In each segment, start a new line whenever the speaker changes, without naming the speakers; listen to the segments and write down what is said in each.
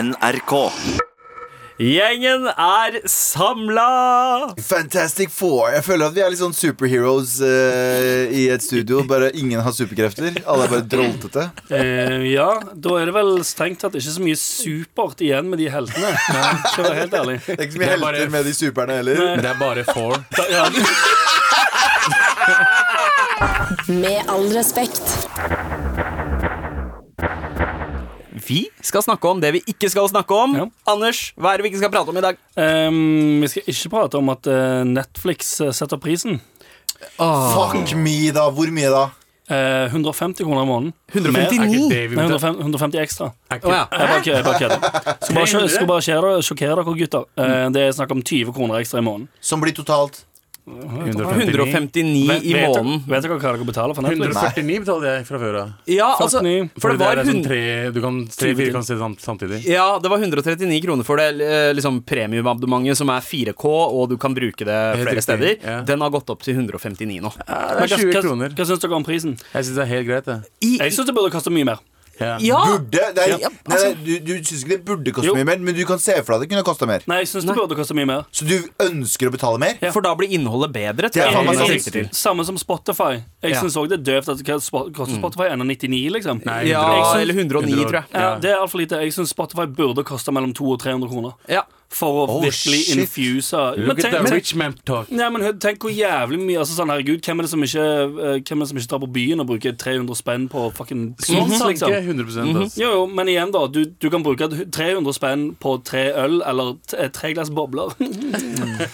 NRK.
Gjengen er samla!
Fantastic Four. Jeg føler at vi er litt sånn superheroes eh, i et studio. Bare ingen har superkrefter. Alle er bare droltete.
Eh, ja, da er det vel strengt tatt ikke så mye supert igjen med de heltene. Skal jeg være helt ærlig.
Det er ikke så mye
er bare-
helter med de superne heller.
Men det er bare four.
Da, ja.
Med all respekt.
Vi skal snakke om det vi ikke skal snakke om.
Ja.
Anders, hva er det vi ikke skal prate om i dag?
Ehm, vi skal ikke prate om at eh, Netflix eh, setter prisen.
Fuck me, da. Hvor mye da?
Eh, 150 kroner i måneden.
Er ikke det vi
Nei,
vil ta?
150, 150 ekstra.
Er ikke-
Jeg bare kø- jeg bare kødder. Skal bare, kjø- skal bare kjøre, sjokkere dere, gutter.
Mm.
Eh, det er snakk om 20 kroner ekstra i måneden.
Som blir totalt
159.
159 i
vet,
måneden.
vet dere hva dere betaler for Netflix?
149 betalte jeg fra før av.
Ja, altså,
49,
for det
Fordi
var
er sånn
hun-
tre, du kan tre-fire kan se sam- samtidig.
ja, det var 139 kroner for det eh, liksom premiumabonnementet, som er 4K, og du kan bruke det
Helt
flere
riktig,
steder.
ja.
Den har gått opp til 159 nå.
Det er 20
hva,
kroner.
hva syns dere om prisen?
Jeg syns det er helt greit, det.
I,
Jeg syns det burde koste mye mer.
Ja.
ja!
Burde? Det er,
Ah! Ja,
nei, nei, du du syns ikke det burde koste
Jo.
mye mer, men du kan se for deg at det kunne koste mer.
Nei, jeg syns det burde koste mye mer.
Så du ønsker å betale mer?
For da blir innholdet bedre.
Det er
tror jeg
faen meg
man
sant.
sikter til.
Samme som Spotify. Jeg
Ja.
synes også det er døvt at det spo- koster Spotify 1,99, liksom.
Mm. Nei,
Ja,
Jeg syns-
eller 109, tror jeg.
Ja, det er altfor lite. Jeg syns Spotify burde koste mellom 200 og 300 kroner.
Ja.
For å
Oh,
virkelig
shit.
infuse men
Look at
tenk,
that
men, Mhm.
rich man talk.
nei, men hør, tenk hvor jævlig mye altså, sånn, Herregud, hvem er, det som ikke, eh, hvem er det som ikke drar på byen og bruker 300 spenn på fucking
Sånn
snus,
tanke,
liksom?
100 ass.
Jo, jo, men igjen, da. Du, du kan bruke 300 spenn på tre øl eller t- eh, tre glass bobler.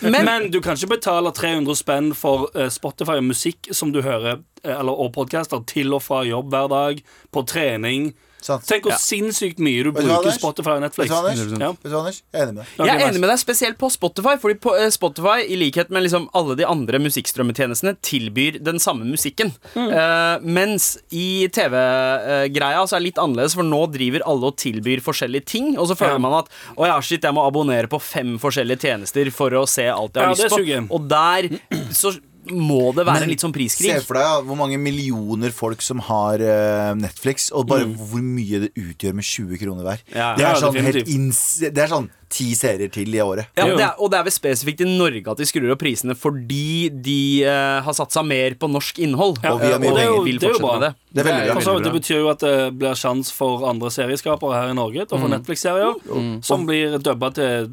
Men, du kan ikke betale 300 spenn for eh, Spotify og musikk som du hører, eh, eller, og podcaster til og fra jobb hver dag, på trening.
Sant.
Tenk hvor sinnssykt mye du
du hva,
bruker
Anders?
Spotify og
Vet
Netflix.
du hva, Anders?
Ja.
Vet du hva, Anders? Jeg er enig med deg.
Ok,
Jeg er
nice.
enig med deg, spesielt på Spotify. Fordi på eh, Spotify, i likhet med liksom alle de andre musikkstrømmetjenestene, tilbyr den samme musikken.
Mm.
Eh, mens i TV-greia så er det litt annerledes, for nå driver alle og tilbyr forskjellige ting. Og så føler
Ja.
man at å ja, shit, jeg må abonnere på fem forskjellige tjenester for å se alt jeg
Ja,
har
det
lyst på.
suger.
Og der så må det være
Men
litt sånn
Se
priskrig.
for deg ja, hvor mange millioner folk som har eh, Netflix, og bare hvor mye det utgjør med 20 kroner hver.
Ja,
det,
Mm. ja,
er sånn
definitivt.
helt ins- det er sånn ti serier til i året.
Ja,
Jo.
det er, og det er vel spesifikt i Norge at de skrur opp prisene fordi de eh, har satsa mer på norsk innhold.
Ja,
og vi har mye
og
penger.
vil
Det er jo
fortsette
bra.
med det.
Det er veldig bra.
For så vidt, det
Veldig bra.
betyr jo at det blir sjans for andre serieskapere her i Norge
Mm.
til å få Netflix-serier
Uh,
som blir dubba til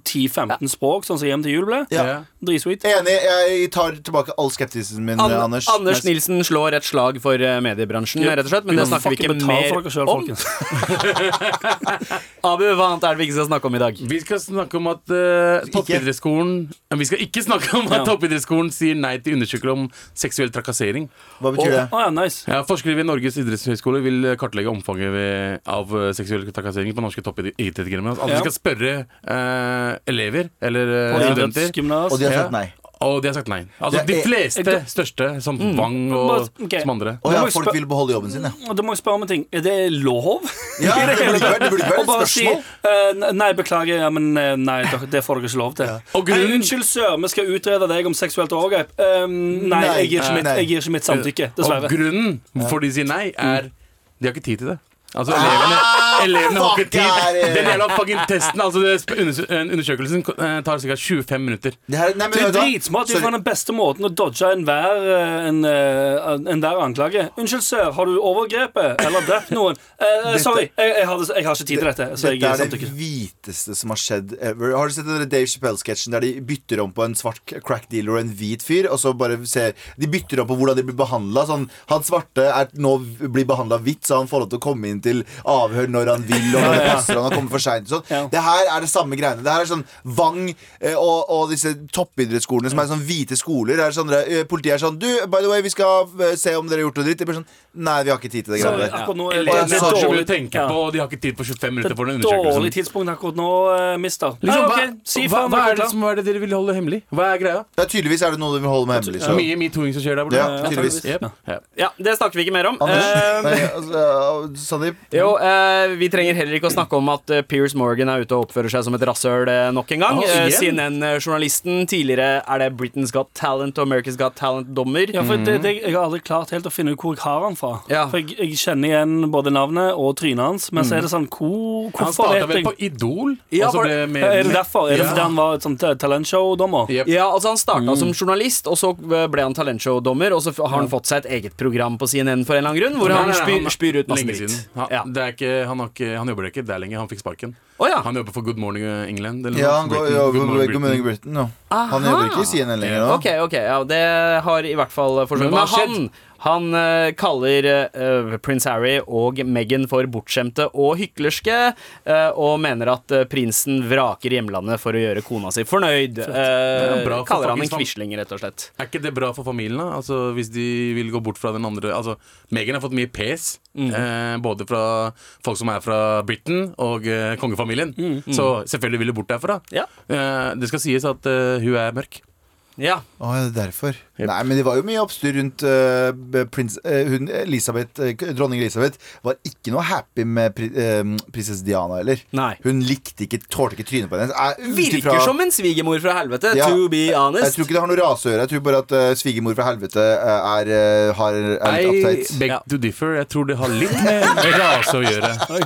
10-15 språk, sånn som Hjem til jul ble.
Ja.
Ja.
Dritsweet.
Enig. Jeg tar tilbake all skeptisisen min,
An
Anders.
Anders, Nilsen slår et slag for eh, mediebransjen, rett og slett. Men det snakker vi ikke mer
for dere selv,
om.
folkens.
Abu, hva annet er det vi ikke skal snakke om i dag?
Vi skal snakke om at eh, toppidrettsskolen Eh, Vi skal ikke snakke om at
Ja.
toppidrettsskolen sier nei til undersøkelser om seksuell trakassering.
Hva betyr det?
Å ja, nice.
Ja, forskere ved Norges idrettshøyskole vil eh, kartlegge omfanget ved, av eh, seksuell trakassering på norske toppidrettsgrener. Altså,
Ja.
De skal spørre eh, elever eller eh,
På
studenter.
idrettsgymnas.
Og de har
Ja.
sagt nei.
Og de har sagt nei. Altså
Det
De
er-
fleste største, som Wang
Mm. Bare-
og
ok.
som andre.
Å ja,
Da må jeg
folk
spør-
vil beholde jobben sin, ja.
Og da må jeg spørre om en ting. Er det lov?
ja det burde ikke vært, det burde ikke
Og
vært
bare
et
si
spørsmål.
eh, Nei, beklager, ja, men eh, nei, dere- det får dere ikke lov til.
Og grunnen-
Hei, unnskyld, sør, vi skal utrede deg om seksuelt overgrep. Eh, nei,
Nei,
jeg, gir ikke
nei.
mitt, jeg gir ikke mitt samtykke,
Og
dessverre.
grunnen hvorfor de sier nei, er De har ikke tid til det. Altså Elevene, elevene har ikke
Ah, fuck er
tid.
det?
Den jævla fucking testen altså det, sp- undersø- eh, Undersøkelsen eh, tar ca. 25 minutter.
Det her, nei, men,
Det er
vet du hva?
dritsmart. Det er
Sorry.
faen den beste måten å dodge enhver eh, en, eh, enhver anklage. Unnskyld, sir, har du overgrepet eller drept noen? Eh, eh, sorry, jeg, jeg, har, jeg har ikke tid til dette. Så jeg
Dette er det
samtykker.
hviteste som har skjedd ever. Har du sett den der Dave Chappelle-sketsjen der de bytter om på en svart crack dealer og en hvit fyr? Og så bare ser De bytter om på hvordan de blir behandla. Sånn, han svarte er, nå blir behandla hvitt, så han får lov til å komme inn til avhør når han vil, og når det passer han, han kommer for seint. Sånn.
Ja.
Det her er det samme greiene. Det her er sånn Vang eh, og, og disse toppidrettsskolene som er sånn hvite skoler. Er sånn, der, eh, politiet er sånn Du, by the way, vi skal eh, se om dere har gjort noe dritt. Det blir sånn Nei, vi har ikke tid til det
Så
greiene der.
akkurat nå er det,
Eller-
Elevene
det er
har så mye å
dårlig,
tenke
ja.
på, og de har ikke tid på 25
det
minutter for
er
den
dårlig
undersøkelsen.
tidspunkt akkurat nå, eh, mister.
Liksom,
Nei,
hva,
ok, si
hva,
faen
hva, er
dere
det
klarer.
som, hva er det dere vil holde hemmelig? Hva er greia?
Ja, tydeligvis er det noe de vil holde med hemmelig. Så.
Mye metooing som skjer der borte.
Ja, tydeligvis.
Yep. Ja.
Ja, Det snakker vi ikke mer om.
Anders?
Eh,
Nei, altså, uh, Sandeep, Sandeep?
Jo, eh, Vi trenger heller ikke å snakke om at eh, Piers Morgan er ute og oppfører seg som et rasshøl eh, nok en gang.
Å,
Eh,
igjen?
CNN-journalisten. Tidligere er det Britain's Got Talent og America's Got Talent-dommer.
Ja, for
Mm.
det, det, Jeg har aldri klart helt å finne ut hvor jeg har han fra.
Ja.
For jeg, jeg kjenner igjen både navnet og trynet hans, men så er det sånn hvor,
Mm. Han
Hvorfor
starta
vet
vel
jeg
på Idol,
Ja,
og så
var
ble
det-
med
Er det derfor? Er det fordi han var et sånt eh, talentshow-dommer?
Jep.
Ja, altså Han starta
Mm.
som journalist, og så eh, ble han talentshow-dommer. Og så f- har han fått seg et eget program på CNN for en eller annen grunn, hvor
Nei,
han
nei,
spyr,
han-
spyr ut masse
Lenge
dritt.
siden. Han,
Ja.
det er ikke, han, har ikke, han jobber ikke der lenger. Han fikk sparken.
Å, ja.
Han jobber for Good Morning England. Eller
Ja,
noe,
han går
Britain-
ja,
Good Morning
Good Morning Britain
Britain.
nå. Han jobber ikke i CNN lenger nå.
Ok, ok, ja, det har i hvert fall forsvunnet.
Men
Men
hva har
han, han eh, kaller eh, prins Harry og Meghan for bortskjemte og hyklerske, eh, og mener at eh, prinsen vraker hjemlandet for å gjøre kona si fornøyd.
er
Eh,
bra for
kaller han en
Pakistan.
quisling, rett og slett.
Er ikke det bra for familien, da? Altså, hvis de vil gå bort fra den andre Altså, Megan har fått mye pes,
Mhm.
eh, både fra folk som er fra Britain og eh, kongefamilien.
Mhm,
Så selvfølgelig vil de bort derfra.
Ja.
Eh, det skal sies at eh, hun er mørk.
Ja,
Å, ja, det er derfor. Nei, men det var jo mye oppstyr rundt eh, prins, eh, hun Elisabeth, eh, dronning Elisabeth. Var ikke noe happy med pri, eh, prinsesse Diana heller.
Nei.
Hun likte ikke, tålte ikke trynet på henne. Eh, ut
Virker
ifra-
som en svigermor fra helvete,
Ja.
to be
Jeg
honest.
tror ikke det har noe rase å gjøre. Jeg tror bare at eh, svigermor fra helvete eh, er, eh, har, er litt uptight.
Beg
Ja.
to differ. Jeg tror det har litt med rase å gjøre.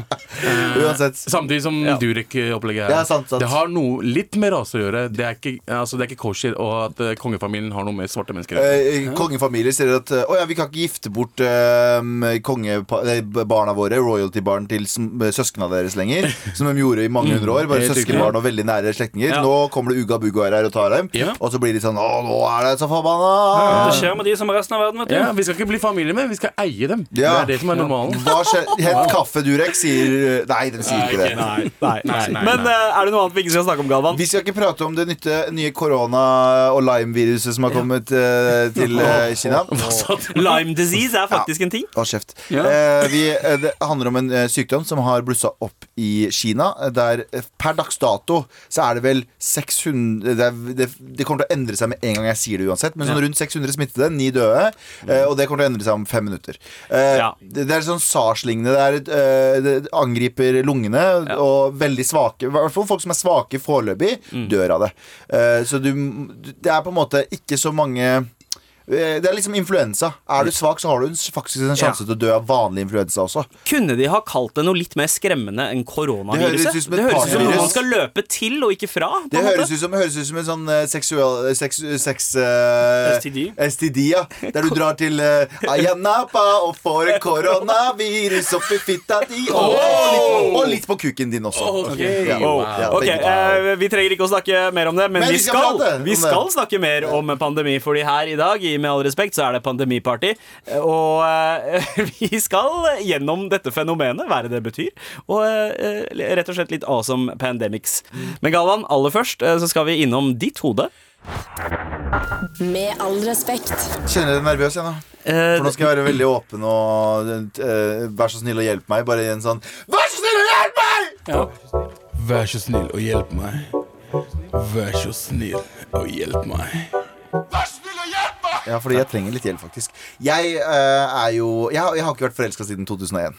Uansett.
Samtidig som Durek-opplegget her.
Ja, sant, sant.
Det har noe litt med rase å gjøre. Det er ikke, altså, det er ikke kosher og at eh, kongefamilien har noe med svarte mennesker å gjøre.
Eh, Kongefamilier sier at eh, Å ja, vi kan ikke gifte bort eh, kongepa- eh, barna våre, royalty-barn, til sm- søskna deres lenger. Som de gjorde i mange hundre år. Bare
helt riktig.
søskenbarn og veldig nære slektninger.
Ja.
Nå kommer det Uga Buga her og tar dem.
Ja.
Og så blir de sånn Å, nå er det så forbanna!
Det skjer med de som er resten av verden, vet du.
Ja, vi skal ikke bli familie med, vi skal eie dem.
Ja.
Det er det som er normalen.
Hva skjer? Het kaffe, Durek, sier Nei, den sier ikke det.
Nei,
Nei, nei,
Men
nei.
eh, er det noe annet vi ikke skal snakke om, Galvan?
Vi skal ikke prate om det nytte, nye korona- og lime-viruset som har kommet eh, til eh, Kina.
Lime disease er faktisk en ting.
Å, kjeft. Eh, vi, eh, det handler om en eh, sykdom som har blussa opp i Kina. eh, Der eh, per dags dato så er det vel 600 Det, er, det, det kommer til å endre seg med en gang jeg sier det uansett. Men sånn rundt 600 smittede, ni døde. Eh, og det kommer til å endre seg om fem minutter. Eh,
Ja.
det, det er sånn SARS-lignende. Det, er et, eh, det angriper lungene, og veldig svake I hvert fall folk som er svake foreløpig, dør av det. Eh, så du Det er på en måte ikke så mange Eh, Det er liksom influensa. Er
Mm.
du svak, så har du en, s- faktisk en sjanse til å dø av vanlig influensa også.
Kunne de ha kalt det noe litt mer skremmende enn
Det
koronaviruset?
høres ut som et
høres ut som noe
partyvirus.
man skal løpe til og ikke fra. på
Det
en måte.
høres ut som, høres ut som en sånn eh, seksuell eh, sex, sex, eh,
STD.
STD, ja. Der du drar til eh, Ayanapa og får koronavirus oppi fitta di. Og, og, litt, og litt på kuken din også.
Ok.
Ja,
Wow.
ja,
Ok,
begge deler.
eh, Vi trenger ikke å snakke mer om det, men, vi skal,
prate om
vi
det.
skal snakke mer om pandemi. Fordi her i dag, i med all respekt, så er det pandemiparty. Og eh, vi skal gjennom dette fenomenet, hva er det det betyr, og eh, rett og slett litt awesome pandemics. Men Galvan, aller først eh, så skal vi innom ditt hode.
Med all respekt.
Kjenner dere nervøs igjen, da?
Eh,
For nå skal jeg være veldig åpen og eh, vær så snill å hjelpe meg. Bare i en sånn Vær så snill å hjelpe meg!
Vær så snill og hjelp meg. Vær så snill og hjelp meg.
Ja, fordi jeg trenger litt hjelp, faktisk. Jeg eh, er jo Jeg, har- jeg har ikke vært forelska siden 2001.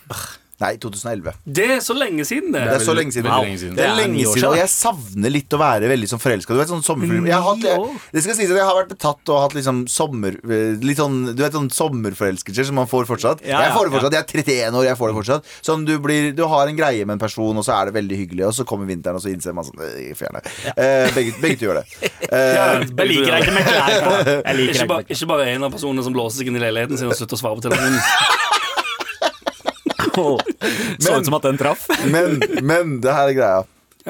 Nei, 2011.
Det er så lenge siden, det.
Det er så lenge siden.
veldig lenge siden.
Det
Det
er
er
lenge
ni år
siden
siden.
Og jeg savner litt å være veldig sånn forelska. Du vet, sånn sommerfugler jeg har, hatt- jeg, Det skal sies at jeg har vært betatt og hatt liksom sommer Litt sånn, du vet sånn sommerforelskelser som man får fortsatt.
Ja,
jeg får det
ja,
fortsatt, jeg er 31 år, jeg får det fortsatt. Sånn du blir Du har en greie med en person, og så er det veldig hyggelig, og så kommer vinteren, og så innser man sånn øh, Fjerne. Eh, begge, begge to gjør det. Eh,
Jeg liker deg ikke med klær på. Jeg
Ikke
liker deg ikke
bare,
med klær.
ikke bare en av personene som låser seg inn i leiligheten sin og slutter å svare på telefonen.
Så ut som at den traff.
Men, men det her er greia.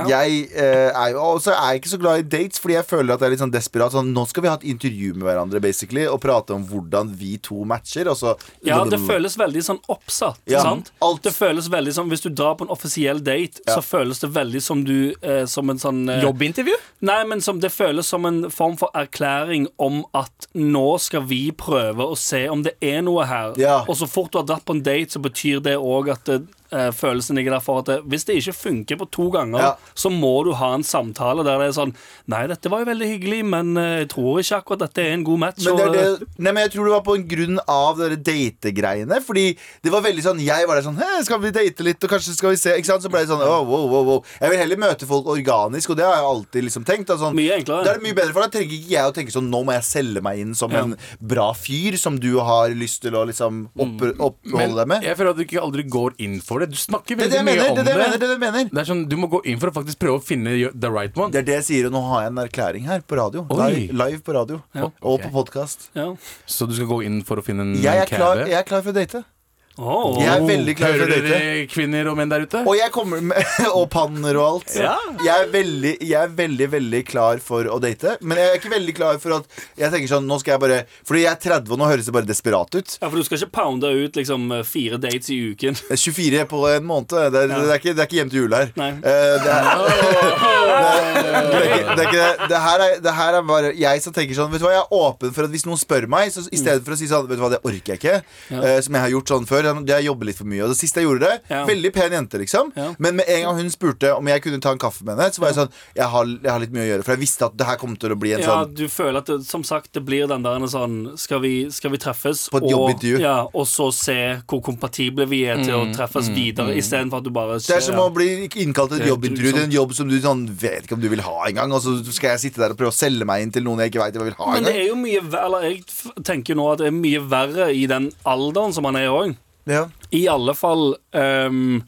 Jeg eh, er jo også er jeg ikke så glad i dates, fordi jeg føler at jeg er litt sånn desperat. Sånn, nå skal vi ha et intervju med hverandre basically og prate om hvordan vi to matcher. Og så
Ja, det føles veldig sånn oppsatt.
Ja,
sant?
alt.
Det føles veldig sånn, Hvis du drar på en offisiell date, så føles det veldig som du eh, Som en sånn eh,
Jobbintervju?
Nei, men som, det føles som en form for erklæring om at nå skal vi prøve å se om det er noe her.
Ja.
Og så fort du har dratt på en date, så betyr det òg at det, eh, følelsen ligger der for at det, hvis det ikke funker på to ganger,
Ja.
så må du ha en samtale der det er sånn Nei, dette var jo veldig hyggelig, men eh, jeg tror ikke akkurat dette er en god match.
Men, det
og, eh,
er det, nei, men jeg tror det var på grunn av dere dategreiene. Fordi det var veldig sånn Jeg var der sånn «Hæ, Skal vi date litt, og kanskje skal vi se? Ikke sant? Så ble det sånn «Åh, wow, wow, wow. Jeg vil heller møte folk organisk, og det har jeg alltid liksom tenkt. Altså,
Mye enklere.
Da er det mye bedre, for da trenger ikke jeg å tenke sånn Nå må jeg selge meg inn som en bra fyr som du har lyst til å liksom opp, oppholde deg med.
Mm. jeg føler at du ikke aldri går inn for det. Du snakker
Det er det
veldig
jeg
mye
mener.
om
Det er det jeg mener. Det er det jeg mener.
Det er sånn, Du må gå inn for å faktisk prøve å finne jo- the right one.
Det er det jeg sier, og nå har jeg en erklæring her på radio.
Oi.
Live, live på radio. Og på podkast.
ja.
Så du skal gå inn for å finne en
Jeg, er klar-
kæve?
jeg er klar for å date.
Åh.
Jeg er veldig klar for å
Hører
date.
dere kvinner og menn der ute?
Og jeg kommer med Og panner og alt. Jeg, er veldig, jeg er veldig, veldig klar for å date. Men jeg er ikke veldig klar for at Jeg tenker sånn, nå skal jeg bare Fordi jeg er 30, og nå høres det bare desperat ut.
Ja, for du skal ikke pounde ut liksom fire dates i uken.
24 på en måned. Det er, det er, ikke, det er ikke hjem til jul her.
Nei.
Eh, det, er, det, er ikke, det er ikke det. Det her er, det her er bare jeg som tenker sånn Vet du hva, jeg er åpen for at hvis noen spør meg, så i stedet for å si sånn Vet du hva, det orker jeg ikke, eh, som jeg har gjort sånn før. Jeg jobber litt for mye. Og det siste jeg gjorde det,
Ja.
veldig pen jente, liksom.
Ja.
Men med en gang hun spurte om jeg kunne ta en kaffe med henne, så var jeg sånn jeg har, jeg har litt mye å gjøre, for jeg visste at det her kom til å bli en
Ja,
sånn
du føler at det, som sagt, det blir den der en sånn Skal vi, skal vi treffes?
På et
og-
jobbintervju.
Ja, og så se hvor kompatible vi er til å treffes videre, istedenfor at du bare
det er som å bli innkalt til et
Ja,
jobbintervju
grusomt.
til en jobb som du sånn, vet ikke om du vil ha engang. Og så skal jeg sitte der og prøve å selge meg inn til noen jeg ikke veit jeg vil ha
Men det
engang.
er jo mye ver- Eller jeg f- tenker nå at det er mye verre i den alderen som han er i òg.
Ja.
I alle fall ehm,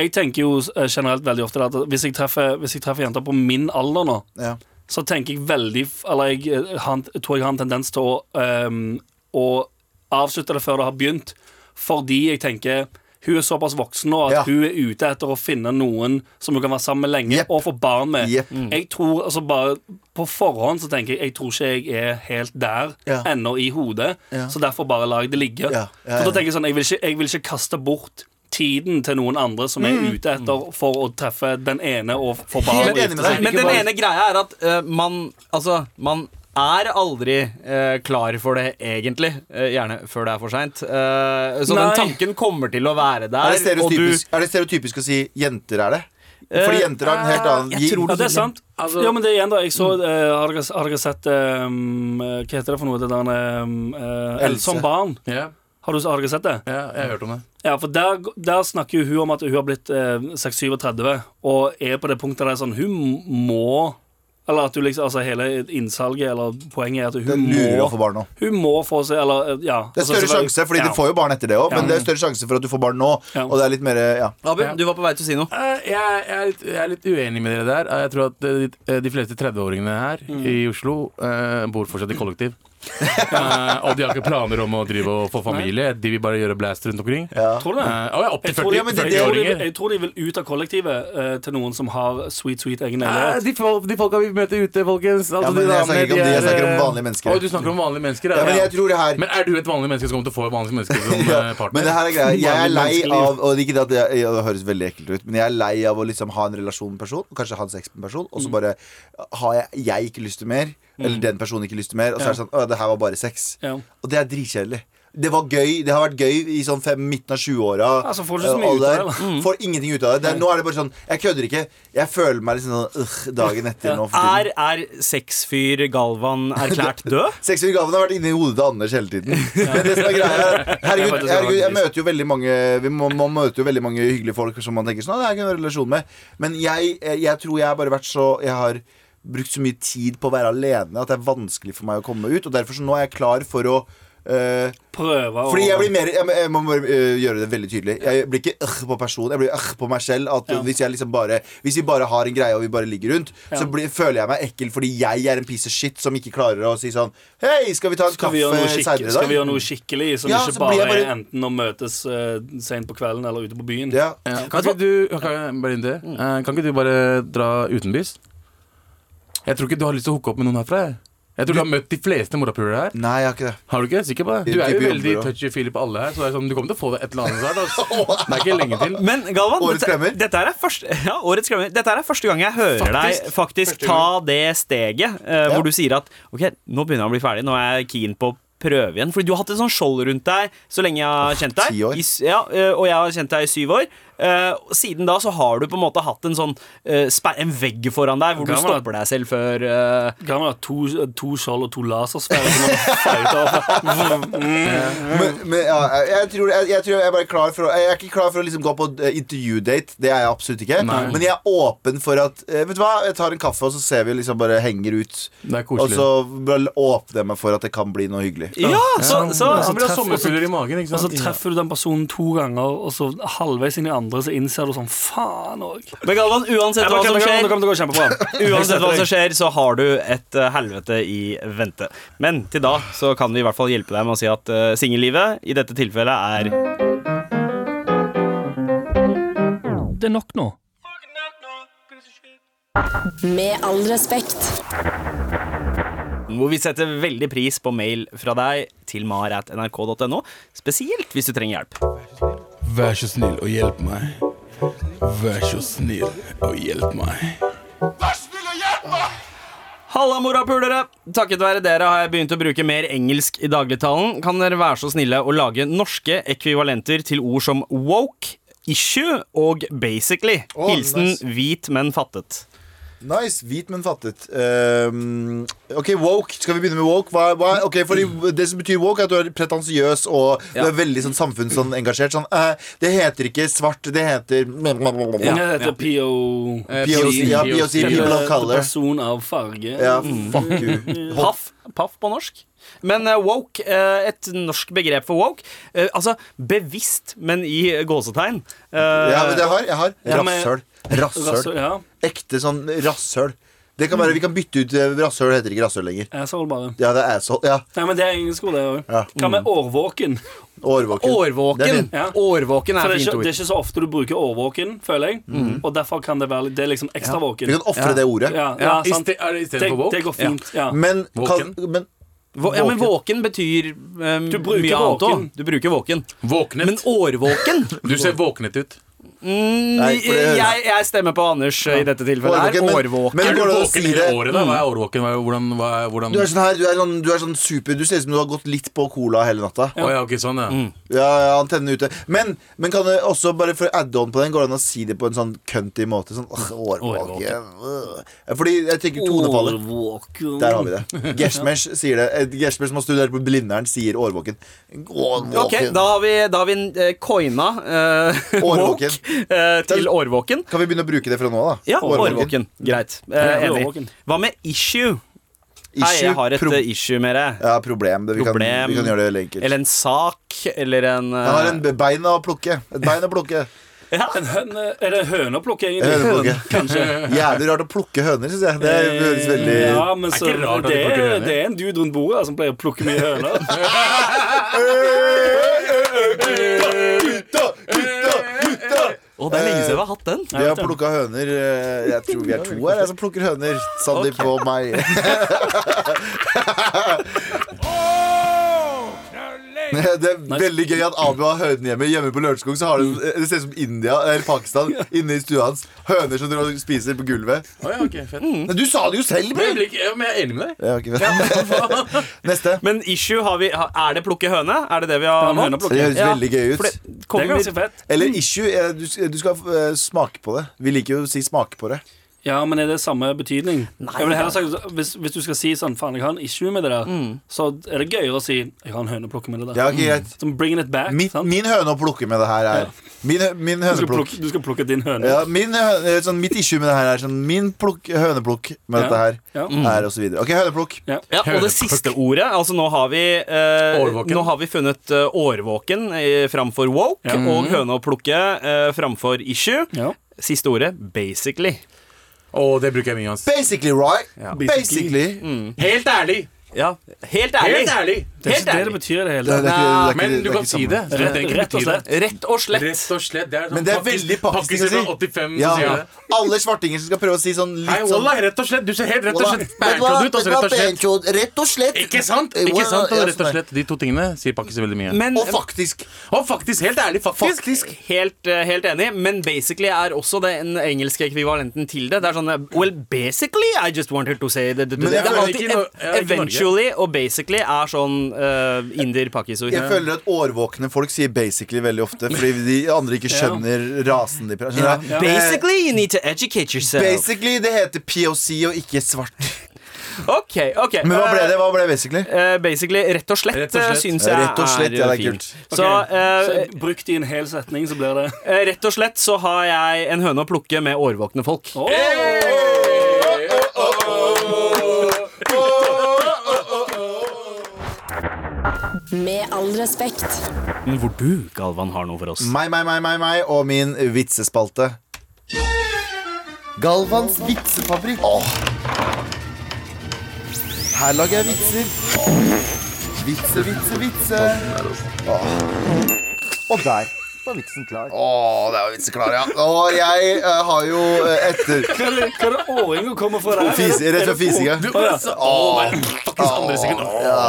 Jeg tenker jo eh, generelt veldig ofte at hvis jeg treffer, hvis jeg treffer jenter på min alder nå,
Ja.
så tenker jeg veldig f- Eller jeg, eh, har en- jeg tror jeg har en tendens til å, ehm, å avslutte det før det har begynt, fordi jeg tenker hun er såpass voksen nå at
Ja.
hun er ute etter å finne noen som hun kan være sammen med lenge
Jepp.
og få barn med.
Jepp.
Jeg tror, altså bare På forhånd så tenker jeg Jeg tror ikke jeg er helt der
Ja.
ennå i hodet,
Ja.
så derfor bare lar jeg det ligge.
Ja, ja,
For
ja.
da tenker Jeg sånn, jeg vil, ikke, jeg vil ikke kaste bort tiden til noen andre som er ute etter for å treffe den ene og få barn.
Mm. Helt enig med deg.
Men den ene greia er at eh, man Altså, man er aldri eh, klar for det, egentlig. Eh, gjerne før det er for seint. så
Nei.
den tanken kommer til å være der.
Er det,
og du-
stereotypisk, er det stereotypisk å si jenter er det? Fordi
Eh,
jenter har en helt annen
jeg tror
Ja, det er sant.
Altså-
ja, men det er igjen da Jeg så,
Mm.
eh, har, dere, har dere sett um, eh, Hva heter det for noe? Det der um, eh,
Else.
Else som barn.
Ja,
Har, du, har dere sett det?
ja, jeg har hørt om det.
Ja, for der, der snakker jo hun om at hun har blitt eh, 637 og er på det punktet der sånn Hun må Eller at hun liksom Altså hele innsalget eller poenget er at
Det
hun
lurer å få
må
barn nå.
Hun må få seg Eller, eh, ja.
Det er større sjanse, fordi du får jo barn etter det òg, men det er større sjanse for at du får barn nå.
Ja.
Og det er litt mer ja.
Abu,
Ja.
du var på vei til å si noe.
Eh, jeg, jeg, er litt, jeg er litt uenig med dere der. Eh, Jeg tror at eh, de, de fleste 30-åringene her i Oslo eh, bor fortsatt i kollektiv. Eh, og de har ikke planer om å drive og få familie. De vil bare gjøre blast rundt omkring.
ja.
Tror du det?
Eh, og ja, opp
Jeg
til
tror,
40
ja, men det- jeg, tror de,
40-åringer.
jeg tror de vil ut av kollektivet eh, til noen som har sweet, sweet egen
Eh,
leilighet.
de, fol- de folka vi møter ute, folkens. altså
Ja, men
de
jeg snakker ikke om
damene,
de, jeg
er,
snakker om
eh,
vanlige mennesker.
Å, du snakker om vanlige mennesker,
ja, men jeg tror det her
Men er du et vanlig menneske som kommer til å få et vanlig menneske som
ja,
eh, partner?
Men det her er greia. Jeg er
Vanlig
lei
menneskeliv.
av Og ikke det at jeg, ja, det høres veldig ekkelt ut, men jeg er lei av å liksom ha en relasjon med en person, og kanskje ha en sex med en person,
Mm.
og så bare har jeg, jeg ikke lyst til mer, eller den personen ikke lyst til mer, og så er det sånn Å, det her var bare sex.
Ja.
Og det er dritkjedelig. Det var gøy, det har vært gøy i sånn fem, midten av 20-åra.
Altså, får du ikke så mye ut av det, Mm.
Får ingenting ut av det. det er, nå er det bare sånn Jeg kødder ikke. Jeg føler meg liksom sånn øh, dagen etter nå. for
Er,
tiden.
er sexfyr Galvan erklært død?
Sexuelle gaven har vært inni hodet til Anders hele tiden. Men det som er greia er Herregud,
faktisk
herregud jeg
romantisk.
møter jo veldig mange Vi må, man møter jo veldig mange hyggelige folk som man tenker sånn «Å, Det er ikke en relasjon med. Men jeg, eh, jeg tror jeg har bare vært så Jeg har brukt så mye tid på å være alene at det er vanskelig for meg å komme ut. Og derfor så nå er jeg klar for å øh,
Prøve å
Fordi jeg blir mer Jeg, må- jeg må bare øh, gjøre det veldig tydelig. Jeg blir ikke øh på person, jeg blir øh på meg selv. At
Ja.
hvis, jeg liksom bare, hvis vi bare har en greie og vi bare ligger rundt, så
Ja.
blir, føler jeg meg ekkel fordi jeg er en piece of shit som ikke klarer å si sånn Hei, skal vi ta en
skal vi, gjøre
kaffe
noe skikk-
seinere i
skal vi
dag?
gjøre noe skikkelig som
Ja, så
ikke bare,
blir jeg bare-
er enten å møtes eh, sent på kvelden eller ute på byen?
Ja.
Ja. Kan ikke du kan, Berlinde, eh, kan ikke du bare dra utenbys? Jeg tror ikke du har lyst til å hooke opp med noen herfra. jeg. Jeg tror du har møtt de fleste morapulere her.
Nei, jeg har ikke det.
Har du ikke? Sikker på det? Du er
Type
jo
jobber,
veldig
da.
touchy-feely på alle her, så det er sånn, du kommer til å få deg et eller annet snart. ass. Det er ikke lenge til.
Men Galvan,
Årets
dette,
klemmer.
dette, her er første, ja, årets klemmer. dette her er første gang jeg hører deg faktisk ta det steget eh,
Ja.
hvor du sier at ok, nå begynner jeg å bli ferdig, nå er jeg keen på å prøve igjen. Fordi du har hatt et sånt skjold rundt deg så lenge jeg har kjent deg.
ti år.
I, s- ja, eh, og jeg har kjent deg i syv år. Eh, siden da så har du på en måte hatt en sånn eh, sper- en vegg foran deg hvor du
Gammel, da.
stopper deg selv før eh,
Kan man ha to, to skjold og to lasersfærer som man fighter over? Mm.
Men, men ja, jeg, jeg, tror, jeg, jeg tror jeg er bare klar for å, Jeg er ikke klar for å liksom gå på eh, intervjudate. Det er jeg absolutt ikke. Men jeg er åpen for at eh, Vet du hva, jeg tar en kaffe, og så ser vi liksom bare henger ut.
Det er
Og
koselig.
så bare åpner jeg meg for at det kan bli noe hyggelig.
Ja, så, så,
Ja, altså, han blir ha
treff-
sommerfugler i magen, ikke
Og så
sant?
treffer du den personen to ganger, og så halvveis inn i andre så innser du sånn faen òg.
Men Galvan, uansett hva som skjer
kommer til å gå kjempebra.
Uansett hva som skjer, så har du et eh, helvete i vente. Men til da så kan vi i hvert fall hjelpe deg med å si at uh, singellivet i dette tilfellet er
Det er nok nå.
Med all respekt.
hvor vi setter veldig pris på mail fra deg til mar.nrk.no, spesielt hvis du trenger hjelp.
Vær så snill og hjelp meg. Vær så snill og hjelp meg.
Halla, morapulere! Takket være dere har jeg begynt å bruke mer engelsk i dagligtalen. Kan dere være så snille å lage norske ekvivalenter til ord som woke, issue og basically?
Å,
Hilsen
nice.
hvit, men fattet.
Nice. Hvit, men fattet. Ehm, ok, woke. Skal vi begynne med woke? Hva, hva, ok, fordi Det som betyr woke, er at du er pretensiøs og du er veldig sånn samfunnsengasjert. Sånn, eh, det heter ikke svart, det heter
Det
ja. Eh,
heter PO
Eh,
POC, ja, POC, people of color.
Person av farge.
Ja,
Mm.
fuck you. Hold-
Paff, paff på norsk. Men eh, woke, eh, et norsk begrep for woke, eh, altså bevisst, men i gåsetegn. Eh,
Ja, men det har, jeg har.
Ja, men-
Rasshøl.
Rasshøl.
Rasshøl.
Ja,
Ekte sånn rasshøl. Det kan være, Vi kan bytte ut eh, rasshøl, heter ikke rasshøl lenger.
asshole bare.
Ja, det er asshole. Ja,
Nei, men det er engelsk ord, det òg.
Ja. Mm.
Hva med årvåken?
årvåken. Det er
Årvåken.
fint.
Ja.
Årvåken
For
er
det, er
et fint
ikke, det er
ord.
ikke så ofte du bruker årvåken, føler jeg.
Mm.
Og derfor kan det være litt- Det er liksom ekstra
Vi
våken.
kan ofre det ordet.
Ja, ja,
Ja, i
sant.
ste- er det
Det,
istedenfor
det går
woke?
fint. Ja.
Men, kan,
Våken.
men
Vå- Ja, men våken betyr eh,
Du bruker
mye annet òg.
våken.
Du bruker våken.
Våknet.
Men årvåken
du ser våknet ut.
mm,
Nei, for det-
jeg, jeg stemmer på Anders eh, i dette tilfellet.
Årvåken,
Det er
men-
årvåken.
men-
Er du
går det an å
våken
si
hele
det? Mm.
året, da? Hva er årvåken? Hva er, hvordan, hva er, hvordan?
du er sånn her, du er sånn, du er sånn super Du ser ut som du har gått litt på cola hele natta.
Å ja, ok, sånn, ja.
Ja, ja, antennene ute. Men, men kan det også, bare for å adde on på den, går det an å si det på en sånn cunty måte? Sånn åh, årvåken. øh. Fordi jeg tenker tonefallet.
Årvåken.
Der har vi det. Gershmers sier det. Eh, Gershmer som har studert på Blindern, sier årvåken. Årvåken.
Ok, da har vi, da har vi eh, coina eh, woke
Årvåken.
eh, til årvåken.
Kan vi begynne å bruke det fra nå, da?
Ja, årvåken. Greit. Eh, enig.
Årvåken.
Hva med issue? Hei,
Issue,
jeg har et
pro-
eh, issue med deg.
ja, problem. Det, vi,
Problem.
Kan, vi kan gjøre det veldig enkelt.
Eller en sak, eller en
Jeg har en bein å plukke. Et bein å plukke.
En høne, er det høneplukke, egentlig?
Høneplukke.
Kanskje.
Jævlig rart å plukke høner, syns jeg. Det høres veldig
Ja, men
Er
så,
ikke rart
det,
at de plukker
er,
høner.
det er en dude rundt bordet her som pleier å plukke mye høner.
Gutta, gutta, gutta!
eh, Å, det er lenge siden vi har hatt den.
Vi har plukka høner. eh, Jeg tror vi er to her jeg, som plukker høner. Sandeep og meg. Det er veldig gøy at Abu har hønene hjemme. Hjemme på Lørenskog så har det, det ser ut som India eller Pakistan inne i stua hans. Høner som dere spiser på gulvet.
Å ja, ok, fett.
Nei, du sa det jo selv,
Men
bror!
jeg blir ikke- ja, men jeg er enig med deg.
Ja, ok, vet du. Neste.
Men issue har vi ha- Er det plukke høne? Er det det vi har
Ja, men høneplukke.
Det høres
Ja,
veldig gøy
For
ut.
det
Det er
kommer
ganske fett.
Mm.
Eller issue. eh, Du, du skal eh, smake på det. Vi liker jo å si smake på det.
Ja, men er det samme betydning? jeg vil heller sagt, hvis, hvis du skal si sånn Faen, jeg har en issue med det der, så er det gøyere å si Jeg har en høneplukke med det der.
Ja, ok, greit.
Som bringing it
Mm.
back.
Min,
sant?
min høne å plukke med det her er Min, hø- min
du, skal
høneplukk.
plukke, du skal plukke din høne.
Ja, min, hø- eh, sånn, mitt issue med det her er sånn Min plukk, høneplukk
Ja.
med dette her
Ja.
Mm.
er og så videre. Ok, høneplukk.
ja, og det siste ordet Altså Nå har vi eh,
Årvåken.
Nå har vi funnet eh, årvåken eh, framfor woke,
Ja.
og høne å plukke eh, framfor issue.
Ja.
Siste ordet basically.
Å, det bruker jeg mye, ass.
Basically right. Basically.
Helt ærlig!
Ja, helt ærlig.
Helt ærlig!
Det er ikke det
ærlig.
det betyr i det hele
Det
tatt.
er- det er ikke- det er ikke- det
Men
er
du
ikke
kan si
samme.
det. Så jeg tenker
Rett og
ikke tiden.
slett.
Rett og slett.
Rett og slett. Det er, sånn
Men det er
pakkis-
veldig pakkis, jeg
pakkiser fra
sier.
85
Ja,
som sier det.
alle svartinger som skal prøve å si sånn
Hei,
litt sånn
wallah, rett og slett. Du ser helt rett og
Wallah,
slett
vet du hva,
bærkjod ut.
vet
Altså,
du hva,
rett og slett.
benkjod, Rett og slett.
Ikke sant? Ikke
Wallah,
sant,
ja,
og rett
sånn
og
er det.
slett. De to tingene sier pakkiser veldig mye.
Men,
Og faktisk.
Og faktisk, helt ærlig, faktisk.
Faktisk.
Helt, eh, helt enig, men basically er også den engelske ekvivalenten til det. Det er sånn eh, Well, basically, I just wanted to say that, that,
Men jeg
that. Det er
føler
alltid
ikke no-
ev-
ja, ikke Norge.
Eventually og basically er sånn sånn eh, inder, pakis og
Jeg føler at årvåkne folk sier basically veldig ofte, fordi de andre ikke skjønner rasen de prater Skjønner du?
Basically, you need to educate
Eh,
yourself.
Basically, det heter POC og ikke svart.
Ok, ok
Men hva ble det? Hva ble basically?
Eh, basically, rett og slett,
Rett og
eh,
slett.
syns jeg
Rett og slett,
er,
ja, det er
fin.
kult.
Så, eh,
Så Bruk det i en hel setning, så blir det
eh, rett og slett så har jeg en høne å plukke med årvåkne folk.
Åh!
Med all respekt.
Men hvor du, Galvan, har noe for oss.
Meg, meg, meg, meg, meg og min vitsespalte. Galvans vitsefabrikk. Åh. Her lager jeg vitser. Åh. Vitse, vitse, vitse. Åh. Og der var vitsen klar. Åh, der var vitsen klar, ja. Og jeg eh, har jo eh, etter
Hva er det- hva er det åringa kommer fra der?
Fis, rett fra fisinga. Ja.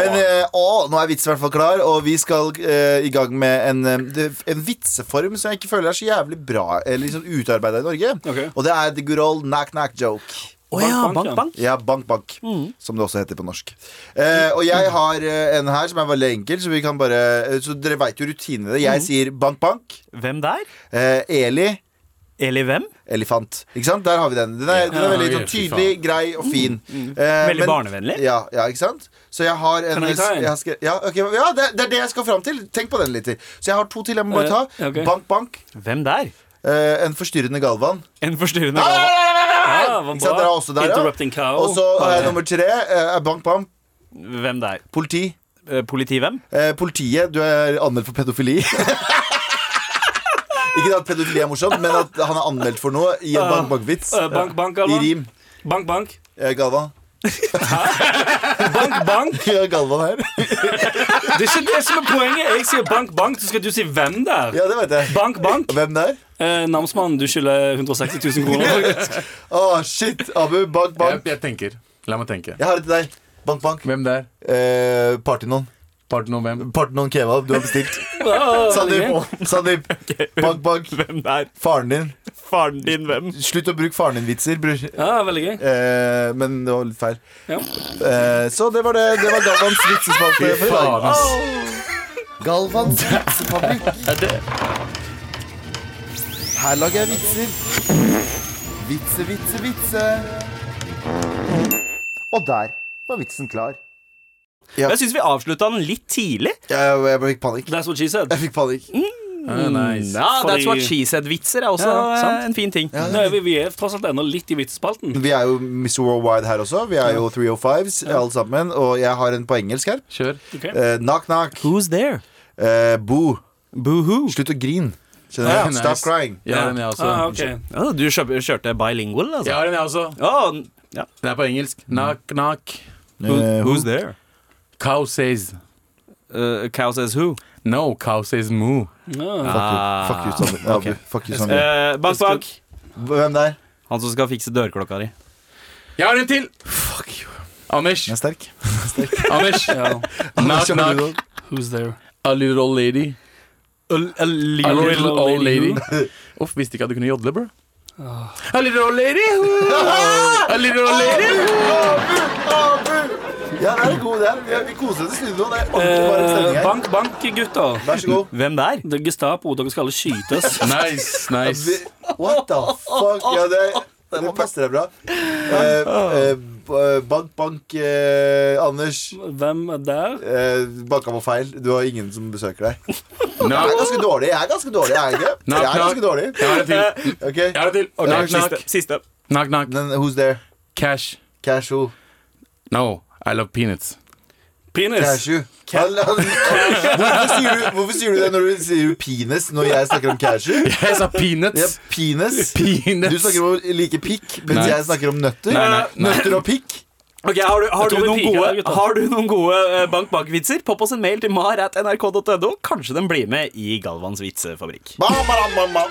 Men eh, å, nå er vitsen i hvert fall klar, og vi skal eh, i gang med en, eh, det- en vitseform som jeg ikke føler er så jævlig bra Eller liksom utarbeida i Norge.
Ok.
Og det er the good old knack-knack-joke.
Å ja,
Bank,
bank,
bank,
bank.
Ja, bank, bank, som det også heter på norsk. Eh, og jeg har eh, en her som er veldig enkel, så vi kan bare eh, Så dere veit jo rutinene.
Mm.
Jeg sier bank, bank.
Hvem der?
Eh, Eli.
Eller hvem?
Elefant. Ikke sant? Der har vi den. Den er, den er veldig sånn,
fy faen.
tydelig, grei og fin.
Mm,
Eh,
Veldig barnevennlig.
Ja, ja, ikke sant? Så jeg har en,
Kan jeg ta en?
har skrevet- ja, ok, ja det, det er det jeg skal fram til. Tenk på den litt til. Så jeg har to til jeg må bare ta.
Eh, ok.
Bank, bank.
Hvem der?
Eh, en forstyrrende Galvan.
En forstyrrende Galvan.
Ja, var
Ikke sant? Dere
bra.
har også der,
Interrupting cow.
Og så har jeg nummer tre. eh, bank, bank.
Hvem der?
Politi.
Eh, Politi hvem?
Eh, politiet, du er anmeldt for pedofili. Ikke at pedofili er morsomt, men at han er anmeldt for noe i en bank-bank-vits.
Eh, Bank, bank,
I
Galvan.
rim.
Bank, bank.
Eh, Galvan.
Bank, bank.
Galvan her.
Det er ikke det som er poenget. Jeg sier bank, bank, så skal du si hvem det er.
Ja, det vet jeg.
Bank, bank.
Hvem det er?
Eh, namsmannen, du skylder 160 000 kroner. faktisk.
Å, shit! Abu, bank,
Jeg,
bank.
jeg tenker. La meg tenke.
Jeg har det til deg. Bank, bank.
Hvem der?
Eh, Partynon.
Partner hvem?
Partynon kebab, du har bestilt.
Ah,
Sandeep. Sandeep. Bank, bank.
Hvem der?
Faren din.
Faren din, hvem?
Slutt å bruke faren din-vitser, bror.
Ja, veldig gøy.
Eh, men det var litt feil.
Ja.
Eh, så det var det. Det var Galvans vitsespalte for i dag.
Faen, ass.
Galvans vitsefabrikk. Her lager jeg vitser. Vitse, vitse, vitse. Og der var vitsen klar.
Jeg syns vi avslutta den litt tidlig.
Jeg, jeg fikk panikk.
That's what she said.
Jeg fikk panikk.
Ah, nice.
Mm. Ja,
Fordi-
That's what she said-vitser er også
Ja, sant.
eh, en fin ting.
Nei, vi, vi er tross alt ennå litt i vitsespalten.
Vi er jo Mr. Worldwide her også. Vi er jo 305s alle sammen. Og jeg har en på engelsk her.
Kjør.
Eh, knock, knock.
Who's there?
Eh, boo.
Boohoo.
Slutt å grine. Skjønner
Ja,
du? Stop
nice.
crying.
Jeg har en, jeg også.
Ah, ok.
Ja, du kjøp- kjørte bilingual, altså?
Jeg har en, jeg også.
Ja, n- ja.
Den er på engelsk. Knock, knock.
Eh, who-
there?
Cow says
Uh, cow says who?
no, cow says moo.
Ja.
Fuck you, fuck you, Sander. Ja,
ok.
Abu. Fuck you, Sander.
Uh, bak, bak.
Hvem der?
Han som skal fikse dørklokka di.
Jeg har en til! Fuck you. Anders.
Den er sterk.
Anders. Knock, knock.
Who's there?
A little old lady. A little old lady. Uff, visste ikke at du kunne jodle, bro.
Ah.
A little old lady. A little old lady.
Ja, det er god, det er. Vi- Vi koser oss i studio. Det er ordentlig varm stemning
Eh,
her.
bank, bank, gutter.
Vær så god.
Hvem der?
Det er Gestapo, dere skal alle skytes.
Nice, nice.
Vi- What the fuck? Ja, det, det passer deg bra. Eh, eh, b- bank, bank, eh, Anders.
Hvem er der?
Eh, banka på feil. Du har ingen som besøker deg. Jeg er
Knock.
ganske dårlig. Jeg er ganske dårlig. Jeg er, ikke. Jeg er ganske dårlig.
Jeg har en til.
Ok.
Jeg har en til.
Ok,
Knock, knock.
Siste. Siste.
Knock, knock.
Then who's there?
Cash.
Cashew.
No, I love peanuts.
Penis.
Cashew. Han- han- Hvorfor sier du- Hvorfor sier du det når du sier penis når jeg snakker om cashew?
Jeg sa
Ja,
peanuts.
penis.
Peanuts.
Du snakker om å like pikk, mens
Nei.
jeg snakker om nøtter.
Nei, nei, nei.
Nøtter og pikk.
Ok, Har du, har
Jeg
du,
tror vi
noen,
piker
gode,
her, gutta.
har du noen gode eh, bank-bank-vitser? Popp oss en mail til mar.nrk.no. Kanskje den blir med i Galvans vitsefabrikk.
Ba, ba, da, ba, ba.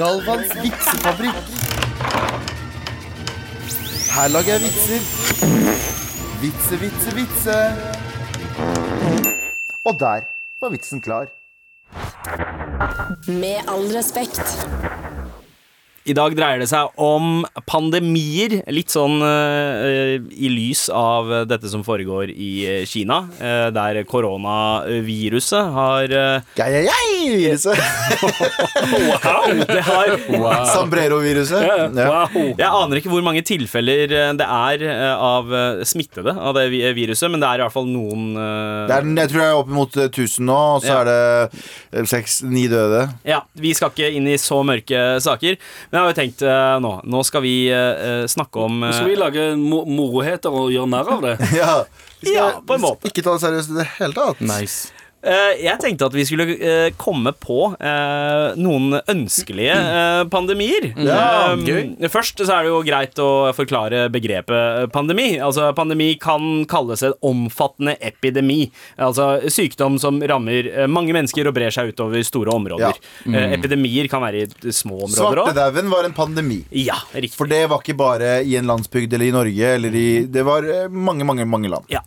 Galvans vitsefabrikk. Her lager jeg vitser. Vitse, vitse, vitse. Og der var vitsen klar.
Med all respekt.
I dag dreier det seg om pandemier, litt sånn eh, i lys av dette som foregår i eh, Kina, eh, der koronaviruset har eh,
Gei, gei, gei!
Wow! Det har
Sambrero-viruset.
Ja, ja.
Ja.
Wow.
Jeg aner ikke hvor mange tilfeller eh, det er eh, av eh, smittede av det vi- eh, viruset, men det er i hvert fall noen eh,
Det er, den- jeg tror jeg er opp mot eh, 1000 nå, og så
Ja.
er det seks-ni døde.
Ja, Vi skal ikke inn i så mørke saker, men jeg har jo tenkt eh, nå Nå skal vi eh, snakke om
Nå
eh,
skal vi lage mo moroheter og gjøre narr av det.
Ja, Vi skal
Ja, på en måte.
Ikke ta det seriøst i det hele tatt.
Nice.
Eh, jeg tenkte at vi skulle eh, komme på eh, noen ønskelige eh, pandemier.
Ja,
Eh,
gøy.
Først så er det jo greit å forklare begrepet pandemi. Altså Pandemi kan kalles en omfattende epidemi. Altså sykdom som rammer eh, mange mennesker og brer seg utover store områder. Eh, epidemier kan være i små områder òg.
Svartedauden var en pandemi.
Ja, riktig.
For det var ikke bare i en landsbygd eller i Norge. Eller i, det var eh, mange, mange mange land.
Ja.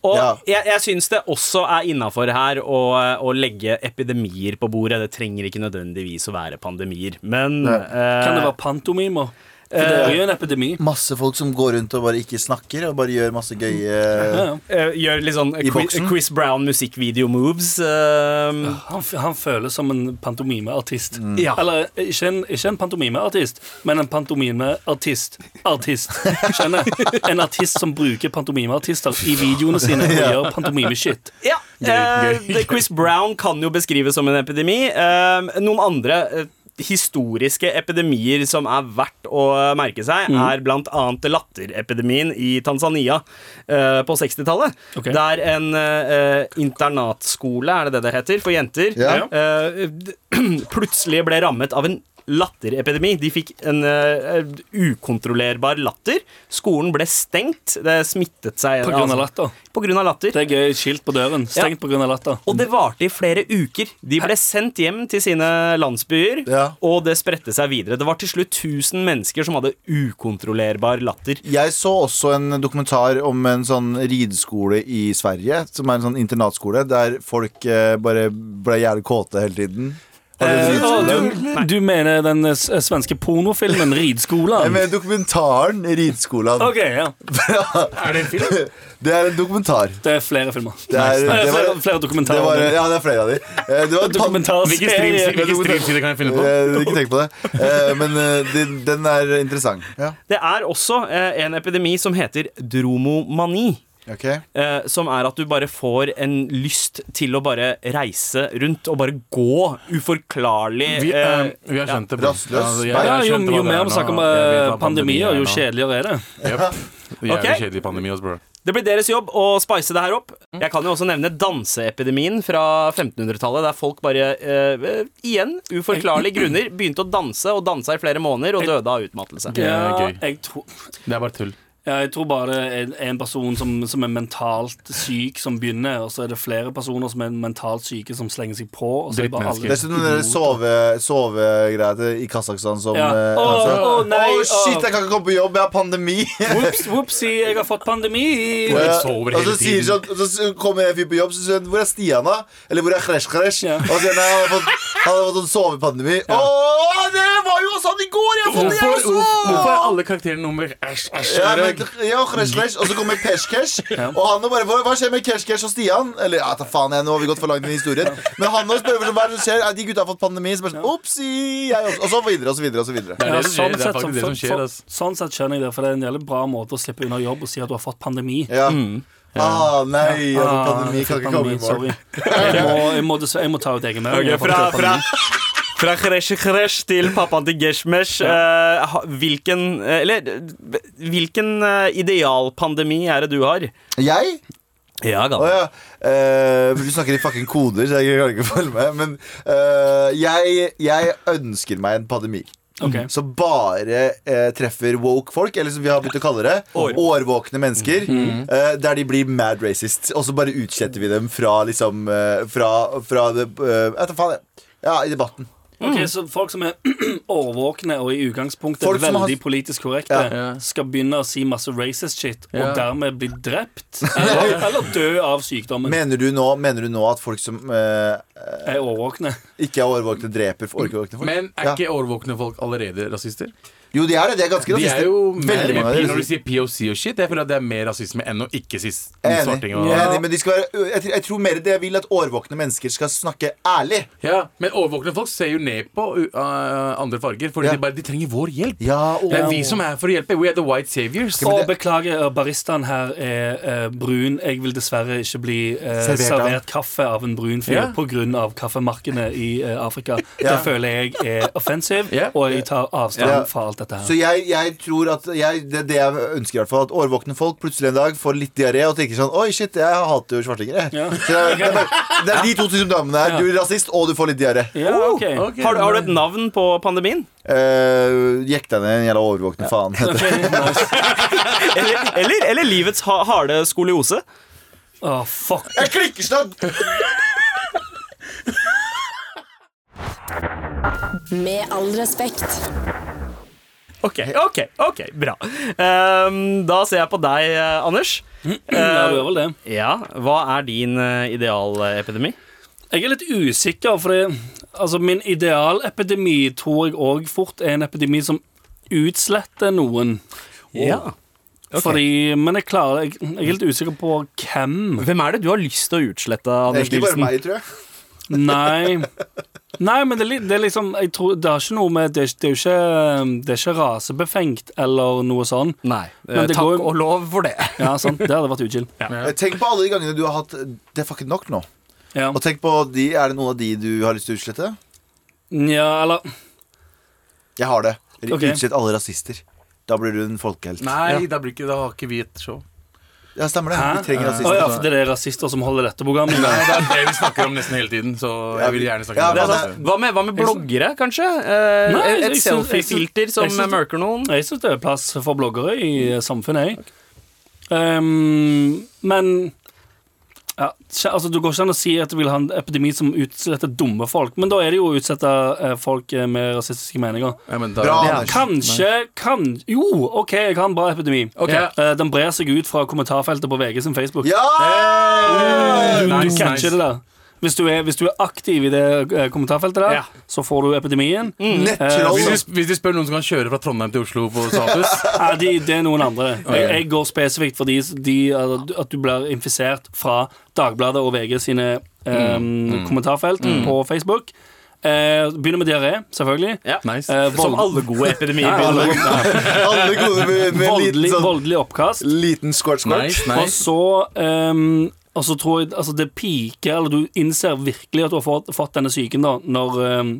Og
Ja.
jeg, jeg syns det også er innafor her å, å legge epidemier på bordet. Det trenger ikke nødvendigvis å være pandemier, men eh,
Kan det være pantomimer? For det er jo en epidemi.
Masse folk som går rundt og bare ikke snakker, og bare gjør masse gøye
Ja, ja.
eh, Gjør litt sånn
I
Chris,
boksen?
Chris Brown musikkvideo-moves. eh,
Han, f- han føles som en pantomimeartist.
Ja.
Eller eh, ikke en, ikke en pantomimeartist, men en pantomimeartist. Artist. Skjønner? En artist som bruker pantomimeartister i videoene sine og gjør pantomimeshit.
ja, eh,
gøy.
det- Chris Brown kan jo beskrives som en epidemi. Eh, noen andre eh, historiske epidemier som er verdt å eh, merke seg,
Mm.
er blant annet latterepidemien i Tanzania eh, på 60-tallet.
Ok.
Der en eh, internatskole, er det det det heter, for jenter,
Ja.
eh, d- plutselig ble rammet av en latterepidemi. De fikk en eh, ukontrollerbar latter. Skolen ble stengt. Det smittet seg altså
På grunn av latter.
På grunn av latter.
Det er gøy skilt på døren. Stengt på grunn av latter.
Og det varte i flere uker. De ble sendt hjem til sine landsbyer,
Ja.
og det spredte seg videre. Det var til slutt 1000 mennesker som hadde ukontrollerbar latter.
Jeg så også en dokumentar om en sånn rideskole i Sverige, som er en sånn internatskole, der folk eh, bare ble jævlig kåte hele tiden. Har du
Eh,
sett
å,
den?
du, du mener den eh, s- svenske pornofilmen
Nei,
'Ridskolan'?
men dokumentaren Ridskolan.
OK, ja. Er det en film?
Det er en dokumentar.
Det er flere filmer.
Det er,
Nei,
det var,
flere, flere
det
dokumentarer.
var, ja, det er flere av de. Eh, Det var en pan-
Hvilke streams-
Dokumentarserie.
hvilke streamsider kan jeg finne på?
Eh, Ikke tenk på det. Eh, Men eh, det- den er interessant. Ja,
Det er også eh, en epidemi som heter dromomani.
ok
Eh, som er at du bare får en lyst til å bare reise rundt og bare gå uforklarlig
Vi,
eh,
eh, vi har skjønt det. bro.
Rastløs.
Altså, jeg- jeg
Ja, jo,
skjønte hva
jo
det er
mer vi
nå.
snakker om
Jeg vet hva
eh, pandemier,
pandemi er
jo
nå.
kjedeligere er det.
Yep. Jævlig
Ok.
kjedelig pandemi også, bro.
Det blir deres jobb å spice det her opp.
Mm.
Jeg kan jo også nevne danseepidemien fra 1500-tallet, der folk bare, eh, eh, igjen uforklarlige grunner, begynte å danse og dansa i flere måneder og døde av utmattelse.
er
Ja,
gøy.
jeg, tror-
Det er bare
Eh,
tull.
ja, jeg tror bare det er en person som, som er mentalt syk, som begynner, og så er det flere personer som er mentalt syke, som slenger seg på. Og så er det bare alle.
Drittmennesker.
Dessuten sånn den der sove- sovegreia til- i Kasakhstan som
Ja.
eh,
Å,
han sa,
å, nei,
Å, shit,
å.
jeg kan ikke komme på jobb, jeg har pandemi!
Ops, Whoopsi, jeg har fått pandemi!
Og jeg
Ja,
sover
og så
hele
sier
tiden.
sånn, og så s- kommer en fyr på jobb og sier han, 'Hvor er Stian, da?' Eller 'Hvor er Kresh Kresh?'
Ja.
Og så sier han, nei, han hadde fått, han hadde fått sånn sovepandemi. Åh, det var jo sånn i går! Jeg har fått det, jeg
Hvorfor,
også!
hvorfor er alle karakterene nummer æsj, æsj?
altså!" Ja, men, ja, Kresh Kresh, og så kommer Pesh Kesh. Og han nå bare, hva, hva skjer med Kesh Kesh og Stian? Eller ja, ta faen, jeg, nå har vi gått for langt inn i historien. Men han nå spør hva er det som skjer. «Nei, De gutta har fått pandemi. Så bare sånn, Opsi! Jeg også. Og så videre og så videre. Og så videre.
Det er
Ja,
det som skjer.
sånn
Det
sett
er faktisk det som skjer, altså.
sånn-
ass.
sånn sett skjønner jeg det, for det er en jævlig bra måte å slippe unna jobb og si at du har fått pandemi.
Ja. Ah, nei, jeg
Mm.
har fått
Ah,
pandemi
jeg
kan
fikk
ikke komme i
pandemi,
morgen.
Sorry. Jeg må, jeg, må, dessverre- jeg må ta ut egen melding.
Ok,
Jeg har
fra,
fått
fra,
pandemi.
fra Khresh Khresh til pappaen til Geshmesh. eh, ha- hvilken eh, Eller eh, hvilken eh, idealpandemi er det du har?
Jeg?
Ja,
Å ja. Eh, du snakker i fucking koder, så jeg klarer ikke å følge med. Men eh, jeg, jeg ønsker meg en pandemi.
Ok.
Som bare eh, treffer woke folk, eller som vi har begynt å kalle det,
År.
årvåkne mennesker.
Mm.
Eh, der de blir mad racist. Og så bare utsletter vi dem fra liksom eh, Fra, fra det eh, jeg vet da faen, jeg. Ja, i debatten.
Ok,
Mm.
Så folk som er årvåkne og i utgangspunktet
Folk som har-
veldig politisk korrekte,
Ja.
skal begynne å si masse racist shit og
Ja.
dermed bli drept? Eller, eller dø av sykdommen?
Mener du nå, mener du nå at folk som eh,
Er årvåkne.
ikke er årvåkne, dreper årvåkne folk?
Men er
Ja.
ikke årvåkne folk allerede rasister?
Jo, de er det. De er ganske
De
rasister.
er jo mer,
Veldig mange av dem er
Når du
rasister.
sier POC og shit, jeg føler at det er mer rasisme enn å ikke si s-
Enig.
svarting. Og,
Jeg er enig, men de skal være, jeg, jeg tror mer det jeg vil at årvåkne mennesker skal snakke ærlig.
Ja, Men overvåkne folk ser jo ned på uh, andre farger, Fordi
Ja.
de bare de trenger vår hjelp.
Ja,
Det er
åh.
vi som er her for å hjelpe. We are the white saviors.
men
Å,
det-
beklager, baristaen her er eh, brun. Jeg vil dessverre ikke bli eh,
Servert
servert,
av.
kaffe av en brun fyr
Ja.
på grunn av kaffemarkene i eh, Afrika.
Ja.
Det føler jeg er offensiv,
Ja.
og jeg tar avstand
Ja.
fra alt dette her.
Så jeg, jeg tror at jeg, Det er det jeg ønsker, i hvert fall. At årvåkne folk plutselig en dag får litt diaré og tenker sånn Oi, shit, jeg hater jo svartinger, jeg.
Ja.
Så det, er- det, er bare- det er de to symptomene her. Du er rasist, og du får litt diaré.
Ja, ok.
Ok.
Har, du- har du et navn på pandemien?
Uh, Jekk deg ned, en jævla årvåkne faen. heter det.
Eller, eller, eller livets ha, harde skoliose?
Å, fuck.
Jeg klikker snart!
Med all respekt.
Ok, ok, ok, bra. Ehm, da ser jeg på deg, eh, Anders.
Ja, det er vel det.
Ja, Hva er din eh, idealepidemi?
Jeg er litt usikker, fordi altså, min idealepidemi tror jeg òg fort er en epidemi som utsletter noen. Fordi, men jeg klarer jeg, jeg er litt usikker på hvem.
Hvem er det du har lyst til å utslette, Anders
Egentlig bare
Nilsen?
meg, tror jeg.
Nei. Nei, men det, er litt- det er liksom jeg tror, Det er ikke noe med Det, er- det er jo ikke, um, det er ikke rasebefengt eller noe sånn.
Nei.
Men
eh,
det
takk
går-
og lov for det.
Ja, sant. Det hadde vært uchill. Ja.
Eh, Tenk på alle de gangene du har hatt Det er fucking nok nå.
Ja.
Og tenk på de, Er det noen av de du har lyst til å utslette?
eller
Jeg har det.
Ok.
Utslett alle rasister. Da blir du en folkehelt.
Nei,
Ja.
da, blir ikke, da har ikke vi et show.
Ja, stemmer det.
Hæ?
Vi trenger
Å
rasister.
ja, for det er rasister som holder dette programmet.
Nei, det er det vi snakker om nesten hele tiden. Så
Ja,
jeg vil
vi-
gjerne snakke
ja,
om
Det
det.
er sant. Hva med, hva med bloggere, kanskje? Eh,
Nei,
et-
jeg synes-
et
jeg synes-
selfie-filter som
jeg synes-
mørker noen?
Jeg syns det er plass for bloggere
Mm.
i samfunnet, jeg. Ehm, men ja, kje- altså, Det går ikke an å si at du vil ha en epidemi som utsletter dumme folk, men da er det jo å utsette eh, folk eh, med rasistiske meninger.
Ja, men da-
Bra,
Ja.
Anders.
Kanskje kan, Jo, OK, jeg har en bra epidemi.
Ok.
Eh, den brer seg ut fra kommentarfeltet på VG sin Facebook.
Ja!
Du, du
Nice,
catcher
nice.
det der. Hvis du, er, hvis du er aktiv i det eh, kommentarfeltet der,
Ja. Mm.
så får du epidemien. Eh,
Nettroll.
Hvis du, hvis du spør noen som kan kjøre fra Trondheim til Oslo på status
Nei, de, det er noen andre. Jeg, jeg går spesifikt for de, de, eh, at du blir infisert fra Dagbladet og VG sine eh,
Mm.
kommentarfelt på Facebook. Eh, begynner med diaré, selvfølgelig.
Ja.
Nice.
Eh, vold-
Som alle gode epidemier
Ja,
begynner
alle-
med.
Alle gode med, med en liten
voldelig,
sånn
voldelig oppkast.
Liten squirt squirt.
Nice, nice.
Og så ehm, Og så tror jeg altså det piker Eller du innser virkelig at du har fått, fått denne syken da Når ehm,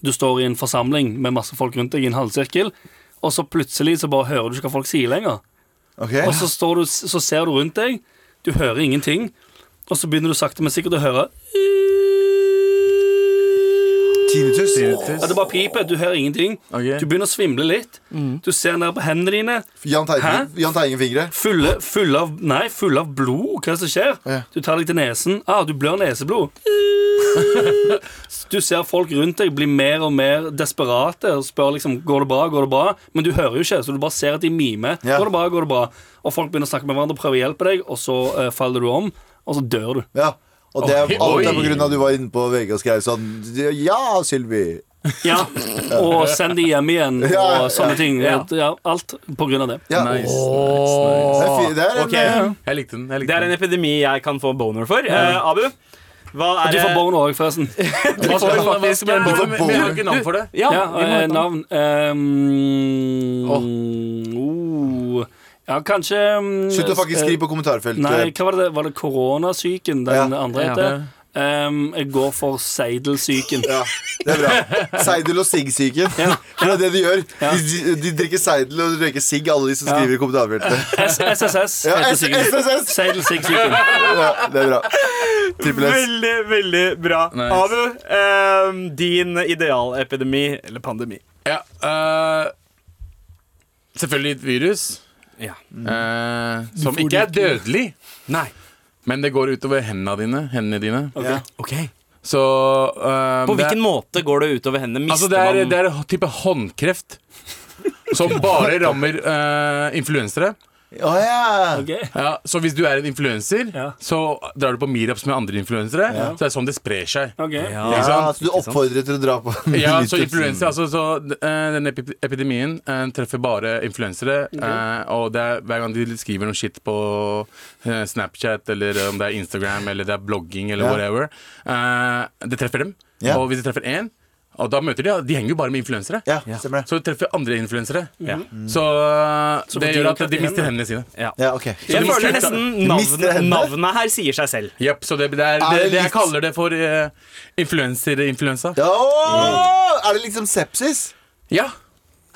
du står i en forsamling Med masse folk rundt deg i en halvsirkel Og så plutselig så bare hører du ikke hva folk sier lenger
Ok.
Og så, står du, så ser du rundt deg Du hører ingenting Og så begynner du sakte men sikkert å høre
Tinnitus.
Ja, det bare piper, du hører ingenting
Ok.
Du begynner å svimle litt
Mm.
Du ser ned på hendene dine
Jahn Teigen-
Hæ?
Jahn Teigen-fingre.
Fulle, fulle av Nei, fulle av blod. Hva er det som skjer?
Ja.
Du tar deg til nesen. Ah, du blør neseblod. Du ser folk rundt deg bli mer og mer desperate og spør liksom Går det bra, går det bra? Men du hører jo ikke, så du bare ser at de mimer.
Ja.
Går det bra, går det bra? Og folk begynner å snakke med hverandre og prøver å hjelpe deg, og så eh, faller du om, og så dør du.
Ja. Og det er
Oi,
alt er
oi.
på grunn av at du var inne på VG og skrev sånn Ja, Sylvi.
Ja, Og send de hjem igjen
Ja,
og sånne ting.
ja.
Ja, alt på grunn av det.
Ja.
Nice, nice,
Det
nice.
er, fi- det er en,
Ok.
eh,
Jeg likte den. Jeg
Det
likte
er en
den.
epidemi jeg kan få boner for. Eh, Abu, hva er
Du får boner òg, forresten.
får
Hva skal- hva- hva skal
faktisk-
jeg-
Du får
men- men jeg har
boner.
ikke navn for det.
Ja,
Ja,
vi må
eh,
ha et navn.
navn Ehm, oh. Ja, kanskje mm,
Slutt å fucking
eh,
skrive på kommentarfeltet.
Nei, hva var det? Var det koronasyken den
Ja.
andre
Ja.
heter? Ehm, jeg går for seidelsyken.
Ja, det er bra. Seidel og sigg-syken. For det er det de gjør. De, de drikker seidel og røyker sigg, alle de som skriver i kommentarfeltet.
S- SSS
Ja,
heter
S-
syken.
SSS!
Seidelsyken.
Ja, det er bra. Trippel S.
Veldig, veldig bra.
Nice.
Abu, eh, din idealepidemi eller pandemi.
Ja, øh, selvfølgelig et virus.
Ja. Mm.
øh, som ikke er dødelig,
Nei.
men det går utover hendene dine. Hendene dine.
Ja.
Ok.
Så eh,
På
det er-
hvilken måte går det utover henne? Mister
Altså, det er,
man
det er en type håndkreft som bare rammer eh, influensere.
Å ja!
Ok.
Ja, så hvis du er en influenser,
Ja.
så drar du på meetups med andre influensere. Så det er sånn det sprer seg.
Ok.
Ja,
Ikke sant?
så du oppfordrer til å dra på
Ja, så
Litt- sånn-
influenser, altså, så eh, Denne epi- epidemien eh, treffer bare influensere. eh, og det er, hver gang de skriver noe shit på eh, Snapchat, eller om det er Instagram, eller det er blogging, eller
Ja.
whatever, eh, det treffer dem.
Ja.
Og hvis de treffer én, og da møter de ja, De henger jo bare med influensere.
Ja, stemmer det. Mm.
Så de treffer andre influensere.
Ja.
Så, eh,
Så får
det
de
gjør at
klart
de mister
igjen,
hendene sine.
Ja, ok
Jeg
mister
føler
henne.
nesten
mister
navnet,
henne.
navnet her sier seg selv.
Jepp, så det, det er,
Er
det,
det
det
Ah,
jeg
litt-
kaller det for eh, influenser-influensa.
ja, å, Er det liksom sepsis?
Ja.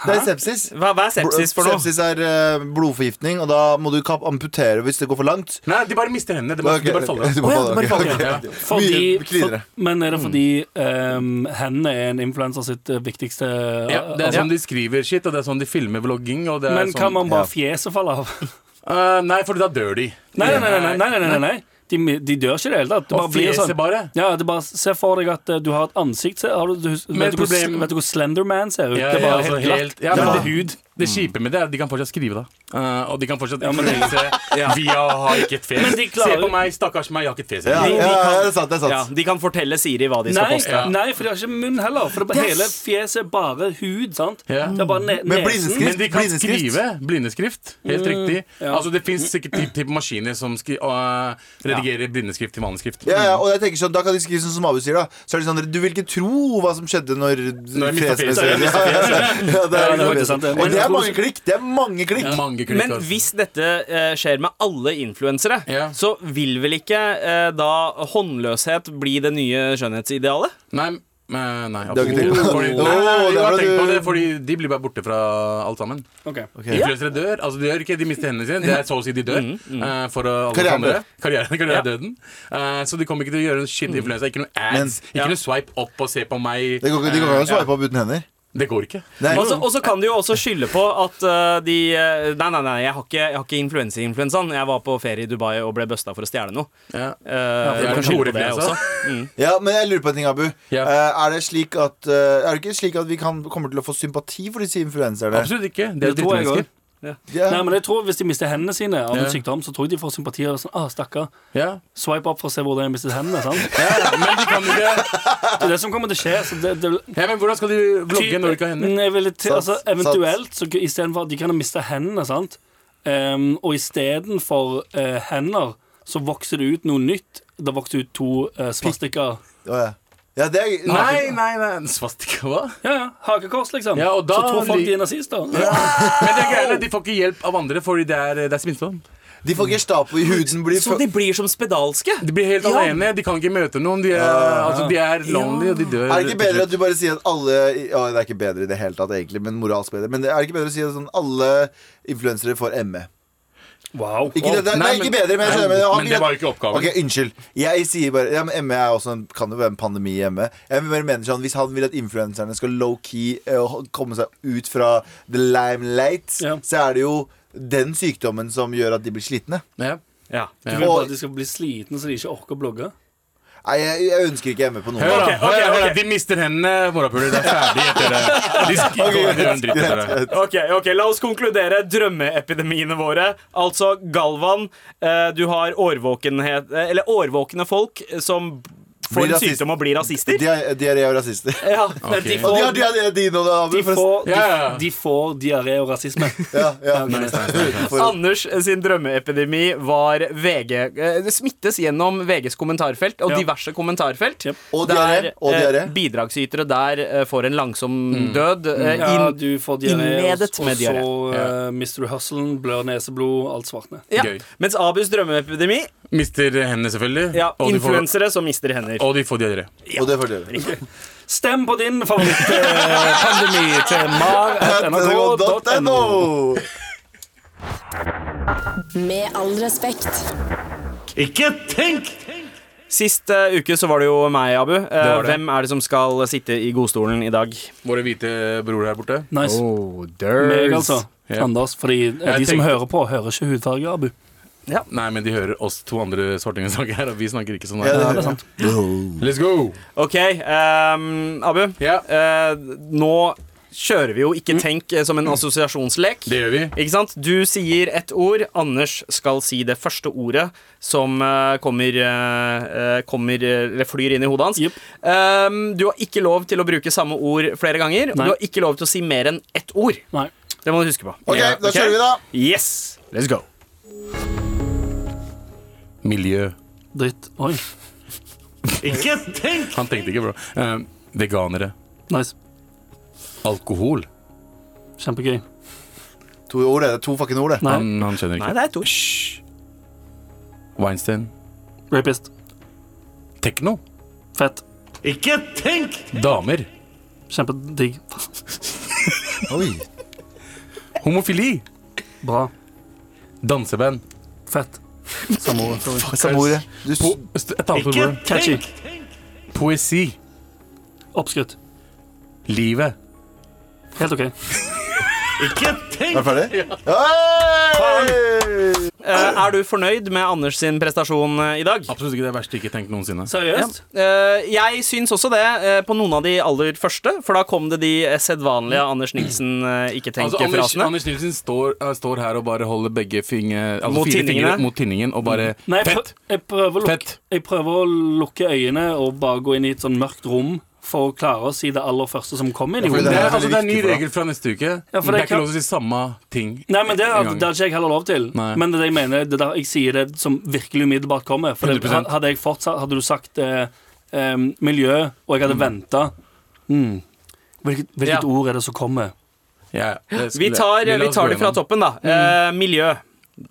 Det er sepsis
Hva, hva er sepsis for noe?
Sepsis er eh, blodforgiftning Og da må du kap- amputere hvis det går for langt
Nei, de bare mister hendene. De bare, de bare faller av.
Du bare
Å ja, det bare
faller, ok.
Ja.
Fordi,
Mye klirre.
for, men
Mm.
er det fordi ehm, hendene er en influenser sitt eh, viktigste
Ja, det er
altså,
sånn de skriver shit, og det er sånn de filmer vlogging. Og det er
Men
sånn,
kan man bare
ja.
fjeset falle av?
Eh, Nei, for da dør de.
Nei, nei, nei. nei, nei, nei, nei, nei. De, de dør ikke i det hele tatt. Det
Og
bare blir
fjeset
sånn.
bare?
Ja, det bare, se for deg at eh, du har et ansikt se, har du, du,
Men
vet, du hvor,
problem-
vet du hvor Slenderman ser ut?
Ja,
det er bare
ja, altså,
helt glatt.
helt- ja, men
det er
det-
hud.
Det kjipe med det er at de kan fortsatt skrive, da. Eh, og de kan fortsatt
Ja, men-
influense via å ha ikke et fjes.
Men de klarer-
Se på meg, stakkars meg, jeg har ikke et fjes.
Ja,
engang.
ja, ja, det er sant, det er sant
Ja, de kan fortelle Siri hva de skal
Nei,
poste.
Ja.
nei, for de har ikke munn heller. For det er bare, hele fjeset er bare hud. sant?
Ja.
Det er bare ne nesen.
Men blindeskrift
Men de kan
blindeskrift.
skrive blindeskrift. Helt riktig.
Mm, ja.
Altså Det fins sikkert typ, typ maskiner som skri øh, redigerer blindeskrift til manuskrift.
Ja, ja, og jeg tenker sånn, Da kan de skrive sånn som Abu sier. da Så er det sånn, Du vil ikke tro hva som skjedde når
Når jeg mistet
fjeset-
fjeset.
Ja, ja, ja. Ja, det
Ja,
er
det er faktisk
liksom
sant,
det.
det.
Og det er mange klikk! Det er mange klikk
Mange klikker,
Men
altså.
hvis dette eh, skjer med alle influensere,
Ja.
så vil vel ikke eh, da håndløshet bli det nye skjønnhetsidealet?
Nei, men- nei,
Det har ikke
absolutt.
tenkt på.
Fordi,
Åh,
nei, nei, nei,
der
jeg
var
har tenkt på
du-
det, fordi de blir bare borte fra alt sammen.
Ok.
Ja.
Influensere dør. Altså De dør ikke, de mister hendene sine. Det er så å si de dør. eh, for å- alle
Karrieren
andre.
dør.
Karrieren karrieren er døden. Eh, så de kommer ikke til å gjøre noe shit influensa. Ikke noe ads.
Men-
ikke noe swipe opp og se på meg.
Det går ikke det går ikke an å svare på uten hender.
Det går ikke.
Nei.
Og så- Altså, Og så kan de jo også skylde på at eh, de eh, Nei, nei, nei, jeg har ikke, jeg har ikke influenseinfluensaen. Jeg var på ferie i Dubai og ble busta for å stjele noe.
Ja.
Eh, de
er
kan
en
skylde på det
horeinfluensa.
også.
Ja, Men jeg lurer på en ting, Abu.
Ja.
Eh, Er det slik at eh, Er det ikke slik at vi kan, kommer til å få sympati for disse influenserne?
Absolutt ikke. Det er
Det tror jeg
drittmennesker.
Ja.
Nei, men jeg tror Hvis de mister hendene sine av en
Ja.
sykdom, så tror jeg de får sympati. Og sånn, ah, stakkar,
Ja.
Swipe opp for å se hvor de har mistet hendene. sant?
Ja, ja, men de kan ikke
Det er det som kommer til å skje. så det, det
Ja, men Hvordan skal du vlogge når du ikke har hender?
Nei, jeg ville til,
Sant,
altså,
sant.
eventuelt, så i stedet for at de kan miste hendene, sant? Um, og istedenfor uh, hender, så vokser det ut noe nytt. Det vokser ut to uh, svastikker.
Å, ja. Ja, det er,
Nei, nei, nei. Svastika, hva?
Ja, ja, Hakekors, liksom.
Ja, og da
så tror folk
lik-
de er nazister.
Men det er greiene, de får ikke hjelp av andre, fordi det er, det er smittsomt.
De får Gestapo i huden. Blir
Så
fra-
de blir som spedalske?
De blir helt
Ja.
alene, de kan ikke møte noen. De er, altså, de er lonely, og de dør.
Er det ikke bedre at du bare sier at alle ja, Det er ikke bedre i det hele tatt, egentlig, men moralsk bedre. Men er det ikke bedre å si at sånn, alle influensere får E. ME?
Wow.
Ikke, det, det,
Nei,
nei, ikke
men-
bedre, men jeg skjønner
Nei,
jeg har
men det var jo ikke oppgaven.
Ok, Unnskyld. Jeg sier bare ja, men ME er også en, kan jo være en pandemi i ME. Jeg bare mener sånn, Hvis han vil at influenserne skal low-key eh, ho- komme seg ut fra the limelight,
Ja.
så er det jo den sykdommen som gjør at de blir slitne.
Ja.
Ja.
Du vil bare at de skal bli slitne så de ikke orker å blogge?
Nei, jeg, jeg ønsker ikke ME på noen.
Hør, da.
måte.
hør, da, hør da. De mister hendene, morapuler. Det er ferdig etter det. De skal ikke gjøre en dritt etter det.
Ok, ok, La oss konkludere drømmeepidemiene våre. Altså, Galvan, eh, du har årvåkenhet eh, Eller årvåkne folk eh, som
Blir
får en
rasist-
sykdom og blir rasister.
De er, de er jo rasister.
Ja,
Ok.
de
Og de
får
har de, har- de, har- de, nå, da, Abu,
De
forresten.
får, de,
Ja, ja, ja.
de får diaré og rasisme.
Ja, ja. For-
Anders sin drømmeepidemi var VG eh, Det smittes gjennom VGs kommentarfelt og
Ja.
diverse kommentarfelt.
Jep.
Og diaré, og
eh,
diaré.
bidragsytere der eh, får en langsom død. eh,
Mm. Ja,
inn-
du får diaré, og,
innledet
og
med
så
diaré.
eh, mister du hørselen, blør neseblod, alt svartner.
ja.
Gøy.
Mens Abus drømmeepidemi
Mister hendene, selvfølgelig.
ja,
og, de får,
Influensere som mister hender.
og de får diaré.
Og det får dere.
Stem på din eh,
Eh,
favorittpandemi til mar.nrk.no.
NRK.no.
Med all respekt.
Ikke tenk!
Sist eh, uke så var det jo meg, Abu. Eh,
var det.
Hvem er det som skal sitte i godstolen i dag?
Våre hvite bror her borte.
Nice.
Oh,
Meg, altså.
Ja.
Anders, fordi eh, de
Jeg
som
tenkte-
hører på, hører ikke hudfarge, Abu.
Ja.
Nei, men de hører oss to andre svartinger snakke her, og vi snakker ikke sånn
Ja,
her.
det er sant.
Let's go!
Ok, ehm, Abu.
Ja. Mm.
eh, nå kjører vi jo ikke tenk eh, som en assosiasjonslek.
Det gjør vi.
Ikke sant? Du sier ett ord. Anders skal si det første ordet som eh, kommer, eh, eh, kommer eh, Eller flyr inn i hodet hans.
Jep.
Ehm, du har ikke lov til å bruke samme ord flere ganger. Og
Nei.
du har ikke lov til å si mer enn ett ord.
Nei.
Det må du huske på.
Ok,
Ja,
da
ok.
kjører vi, da.
Yes!
Let's go. Miljø.
Dritt. Oi.
Ikke tenk!
Han tenkte ikke, bro. Eh, veganere.
Nice.
Alkohol.
Kjempegøy.
To ord, det er to fucking ord, det.
Nei.
Han, han skjønner
Nei,
ikke.
det er et ord.
Weinstein.
Rapist.
Tekno.
Fett.
Ikke tenk!
Damer.
Kjempedigg.
Oi.
Homofili.
Bra.
Danseband.
Fett. Samme ord. sorry.
Samme ordet. Du s-
Po st- et annet ord.
Ikke
bro.
Catchy.
tenk!
Poesi.
Oppskrytt.
Livet.
Helt OK.
Ikke
Er du
tenk!
ferdig? Oi!
Eh, er du fornøyd med Anders sin prestasjon eh, i dag?
Absolutt ikke det verste ikke tenkt noensinne.
Seriøst?
Eh, jeg syns også det, eh, på noen av de aller første. For da kom det de eh, sedvanlige
Mm.
Anders Nilsen eh,
Altså, Anders,
ikke-tenke-frasene.
Anders Nilsen står, eh, står her og bare holder begge fingre, altså
Mot
fire
tinningene.
fingre mot tinningen og bare
Nei, jeg,
Fett!
prø jeg, prøver å lukke,
Fett.
jeg prøver å lukke øynene og bare gå inn i et sånn mørkt rom for å klare å si det aller første som kom inn i
for
Det
hodet.
er
er,
veldig
altså, det er ny
viktig for deg.
regel fra neste uke.
Ja, for
det
det
er ikke
kan-
lov til å si samme ting.
Nei, men Det
en
hadde
gang.
det hadde ikke jeg heller lov til.
Nei.
Men det er det jeg mener, det er der jeg sier det som virkelig umiddelbart kommer. For det,
100%.
hadde, jeg fortsatt, hadde du sagt eh, eh, miljø, og jeg hadde ventet venta mm. Hvilket, hvilket
Ja.
ord er det som kommer?
Ja, det
Vi
skulle-
tar, eh,
la
vi
oss
tar
gå
det fra
gjennom.
Mm.
toppen, da. Eh, miljø.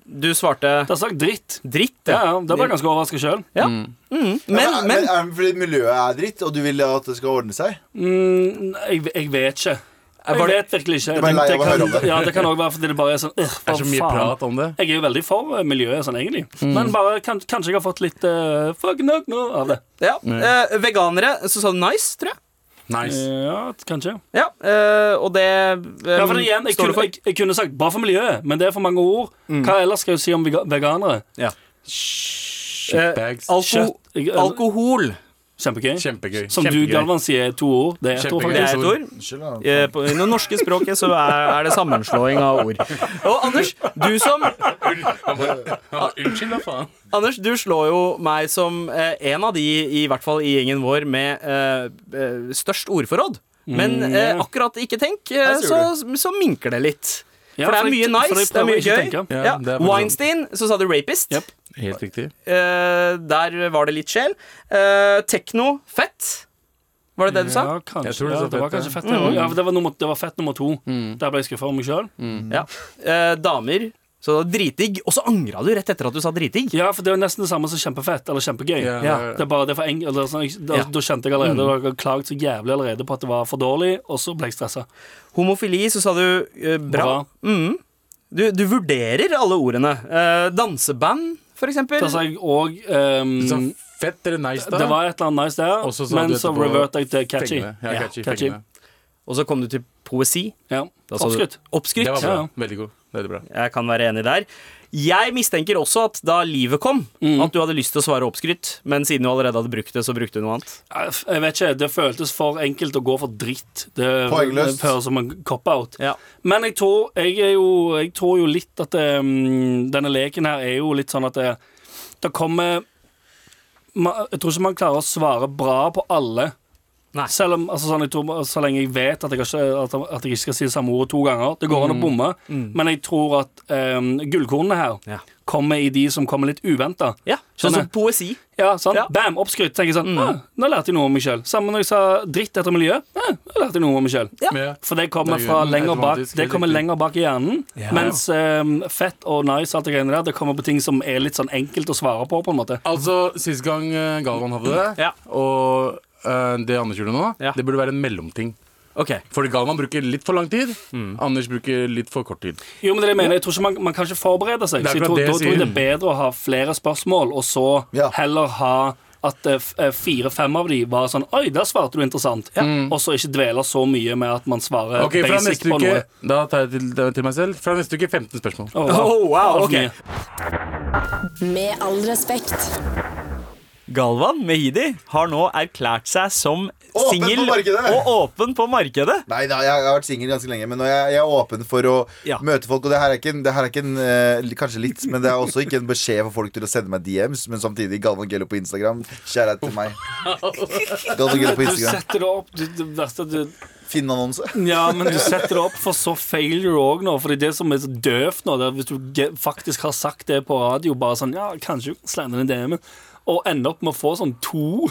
Du svarte
Det er sagt dritt.
dritt.
Ja, ja, Da ble jeg ganske overraska sjøl.
Ja. Mm. Men,
er-
men
er det eh, fordi miljøet er dritt, og du vil at det skal ordne seg?
Mm, jeg, jeg vet ikke. Jeg
var det-
vet virkelig ikke.
er bare lei av å høre om det.
ja, det kan også være fordi det bare er sånn øh,
Det
hva
er så mye
faen?
prat Mm. om det.
Jeg er jo veldig for eh, miljøet, sånn egentlig. Men bare, kan, kanskje jeg har fått litt uh, fuck nok nå av det.
ja. Eh, Veganere, så sa du nice, tror jeg.
Nice.
Ja, kanskje.
Ja, eh, og det eh,
Ja, for det, igjen, jeg,
står
kunne,
du for. Mm.
jeg, jeg kunne sagt bra for miljøet, men det er for mange ord. Hva ellers skal jeg si om vega- veganere?
Shitbags.
Eh, alko
Kjøtt- jeg- eller-
alkohol.
Kjempegøy.
Kjempegøy.
Som du,
kjempegøy.
Galvan, sier er to ord. Det er et ord,
Kjempegøy.
Det er
faktisk.
et ord.
Unnskyld, da.
Eh, på, I det norske språket så er, er det sammenslåing av ord. Og Anders, du som,
Ja, Unnskyld, da faen.
Anders, du slår jo meg som eh, en av de, i hvert fall i gjengen vår, med eh, eh, størst ordforråd. Men eh, akkurat ikke tenk, eh,
Der sier
så, så minker det litt.
Ja,
for det er mye
jeg- for
nice,
jeg
det er
prøver
mye
ikke å
gøy.
tenke.
Ja,
Ja.
det er faktisk-
Weinstein, så sa du rapist.
Yep.
Helt riktig.
Eh, der var det litt sjel. Eh, Tekno, fett. Var det det du sa? Mm.
Ja, kanskje.
Jeg tror det
det,
er
ja,
så
det var
fett, Mm.
kanskje fett. det også. Ja, for det, var nummer, det var fett nummer to. Der ble jeg skuffa over meg sjøl.
Ja. Eh, damer, så dritdigg. Og så angra du rett etter at du sa dritdigg.
Ja, for det er jo nesten det samme som kjempefett eller kjempegøy.
Ja, Mm.
Ja.
det er-
Det er bare det er for eng eller sånn, jeg, da,
Ja.
da kjente jeg allerede og jeg klaget så jævlig allerede på at det var for dårlig, og så ble jeg stressa.
Homofili, så sa du eh, bra. Mhm. Du, du vurderer alle ordene. Eh, danseband, for eksempel.
Da sa jeg òg ehm,
Så fett eller nice, da?
Det var et eller annet nice der,
Og så sa
men
du
så
etterpå
reverta jeg til catchy.
Fengende. Ja, catchy.
catchy.
fengende.
Og så kom du til poesi.
Ja.
Da sa du-
Oppskrytt.
Oppskrytt.
Det var
Ja,
bra.
ja.
Veldig god. Veldig bra.
Jeg kan være enig der. Jeg mistenker også at da livet kom, at du hadde lyst til å svare oppskrytt, men siden du allerede hadde brukt det, så brukte du noe annet.
Jeg f- jeg vet ikke, det føltes for enkelt å gå for dritt. Det,
Poengløst.
det høres som en cop-out.
Ja.
Men jeg tror, jeg, er jo, jeg tror jo litt at eh, mm, denne leken her er jo litt sånn at det, det kommer ma- Jeg tror ikke man klarer å svare bra på alle.
Nei.
Selv om, altså sånn, jeg tror, Så lenge jeg vet at jeg, ikke, at, at jeg ikke skal si det samme ordet to ganger. Det
Mm.
går an å bomme, men jeg tror at eh, gullkornene her
Ja.
kommer i de som kommer litt uventa.
Ja, Sånn som
Skjønner.
poesi.
Ja, sant?
Ja. Mm.
Bam, oppskrytt. Tenker jeg sånn, ah, Nå lærte jeg noe om meg sjøl. Sammen når jeg sa dritt etter miljø. Ah, nå lærte jeg noe om meg sjøl.
Ja.
Ja.
For det kommer
Det er jo
fra lenger bak
automatisk,
Det
helt
kommer
riktig.
lenger bak i hjernen. Mens eh, fett og nice og alt det greiene der, det kommer på ting som er litt sånn enkelt å svare på. på en måte
Altså, sist gang eh, Galvan hadde det,
Ja.
og eh, det Anders gjorde nå,
Ja.
det burde være en mellomting.
Ok.
Fordi Galvan bruker litt for lang tid, Anders bruker litt for kort tid.
Jo, men det er det jeg mener, jeg tror ikke man, man kan ikke forberede seg.
Det er
Så jeg
akkurat
tror,
det jeg
da tror jeg det
sier.
er bedre å ha flere spørsmål, og så
Ja.
heller ha at eh, fire-fem av de var sånn Oi, der svarte du interessant. Og så ikke dvele så mye med at man svarer
Ok, fra
basic
neste
på
uke
noe.
Da tar jeg til, til meg selv. Fra neste uke 15 spørsmål.
Å,
Oh, wow,
Altfor
ok.
mye.
Med all respekt.
Galvan Mehidi har nå erklært seg som
Åpen
singel
på markedet!
og åpen på markedet.
Nei, da, jeg har vært singel ganske lenge, men nå er jeg, jeg er åpen for å
Ja.
møte folk. Og det her er ikke, en, det her er ikke en, eh, Kanskje litt, men det er også ikke en beskjed for folk til å sende meg DMs. Men samtidig, Galvan Gello på Instagram, kjære til meg. Galvan Gello
Du
på Instagram.
setter det opp du, det verste, er at du,
Finn annonse.
Ja, men du setter det opp for så failure òg nå. Fordi det som er så døvt nå, det er hvis du ge- faktisk har sagt det på radio, bare sånn Ja, kanskje slender den DM-en. Og ender opp med å få sånn to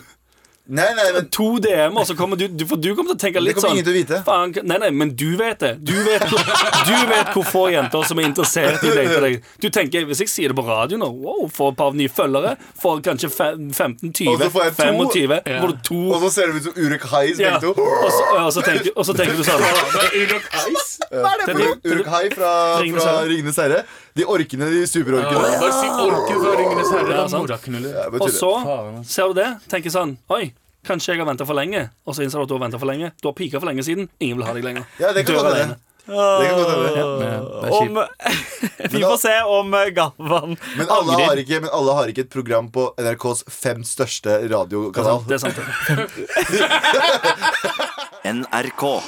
Nei, nei, men
To DM-er, så kommer du, du For du kommer til å tenke
Det
litt
kommer
sånn
ingen til å vite.
Faen, nei, nei, men du vet det. Du vet, hvor- du vet hvor få jenter som er interessert i å date deg. Du tenker, Hvis jeg sier det på radio nå, wow, får et par nye følgere. Får kanskje fe- 15-20,
Og så får jeg to.
25.
Ja.
Får du to
Og så ser det ut som Urek Hais,
ja.
begge
og,
to.
så, og, så tenker, og så tenker du sånn
Hva er det for noe? Uruk Hai fra,
Ringenes
fra
Herre.
Ringenes herre. De orkene, de superorkene.
Bare si orken fra Ringenes herre.
Ja,
da,
sant.
moraknuller.
Jeg
Og
bare tuller.
så
Faen.
ser du det, tenker sånn Oi, kanskje jeg har venta for lenge. Og så innser du at du har venta for lenge. Du har pika for lenge siden. Ingen vil ha deg lenger.
Ja, det kan
Dør
godt hende.
alene.
Det kan godt hende.
Ja, det er
Om,
kjipt.
vi får se om eh, Galvan
Men alle, har
angrer.
ikke, men alle har ikke et program på NRKs fem Altså, største radiokanal.
Det er sant. det.
NRK.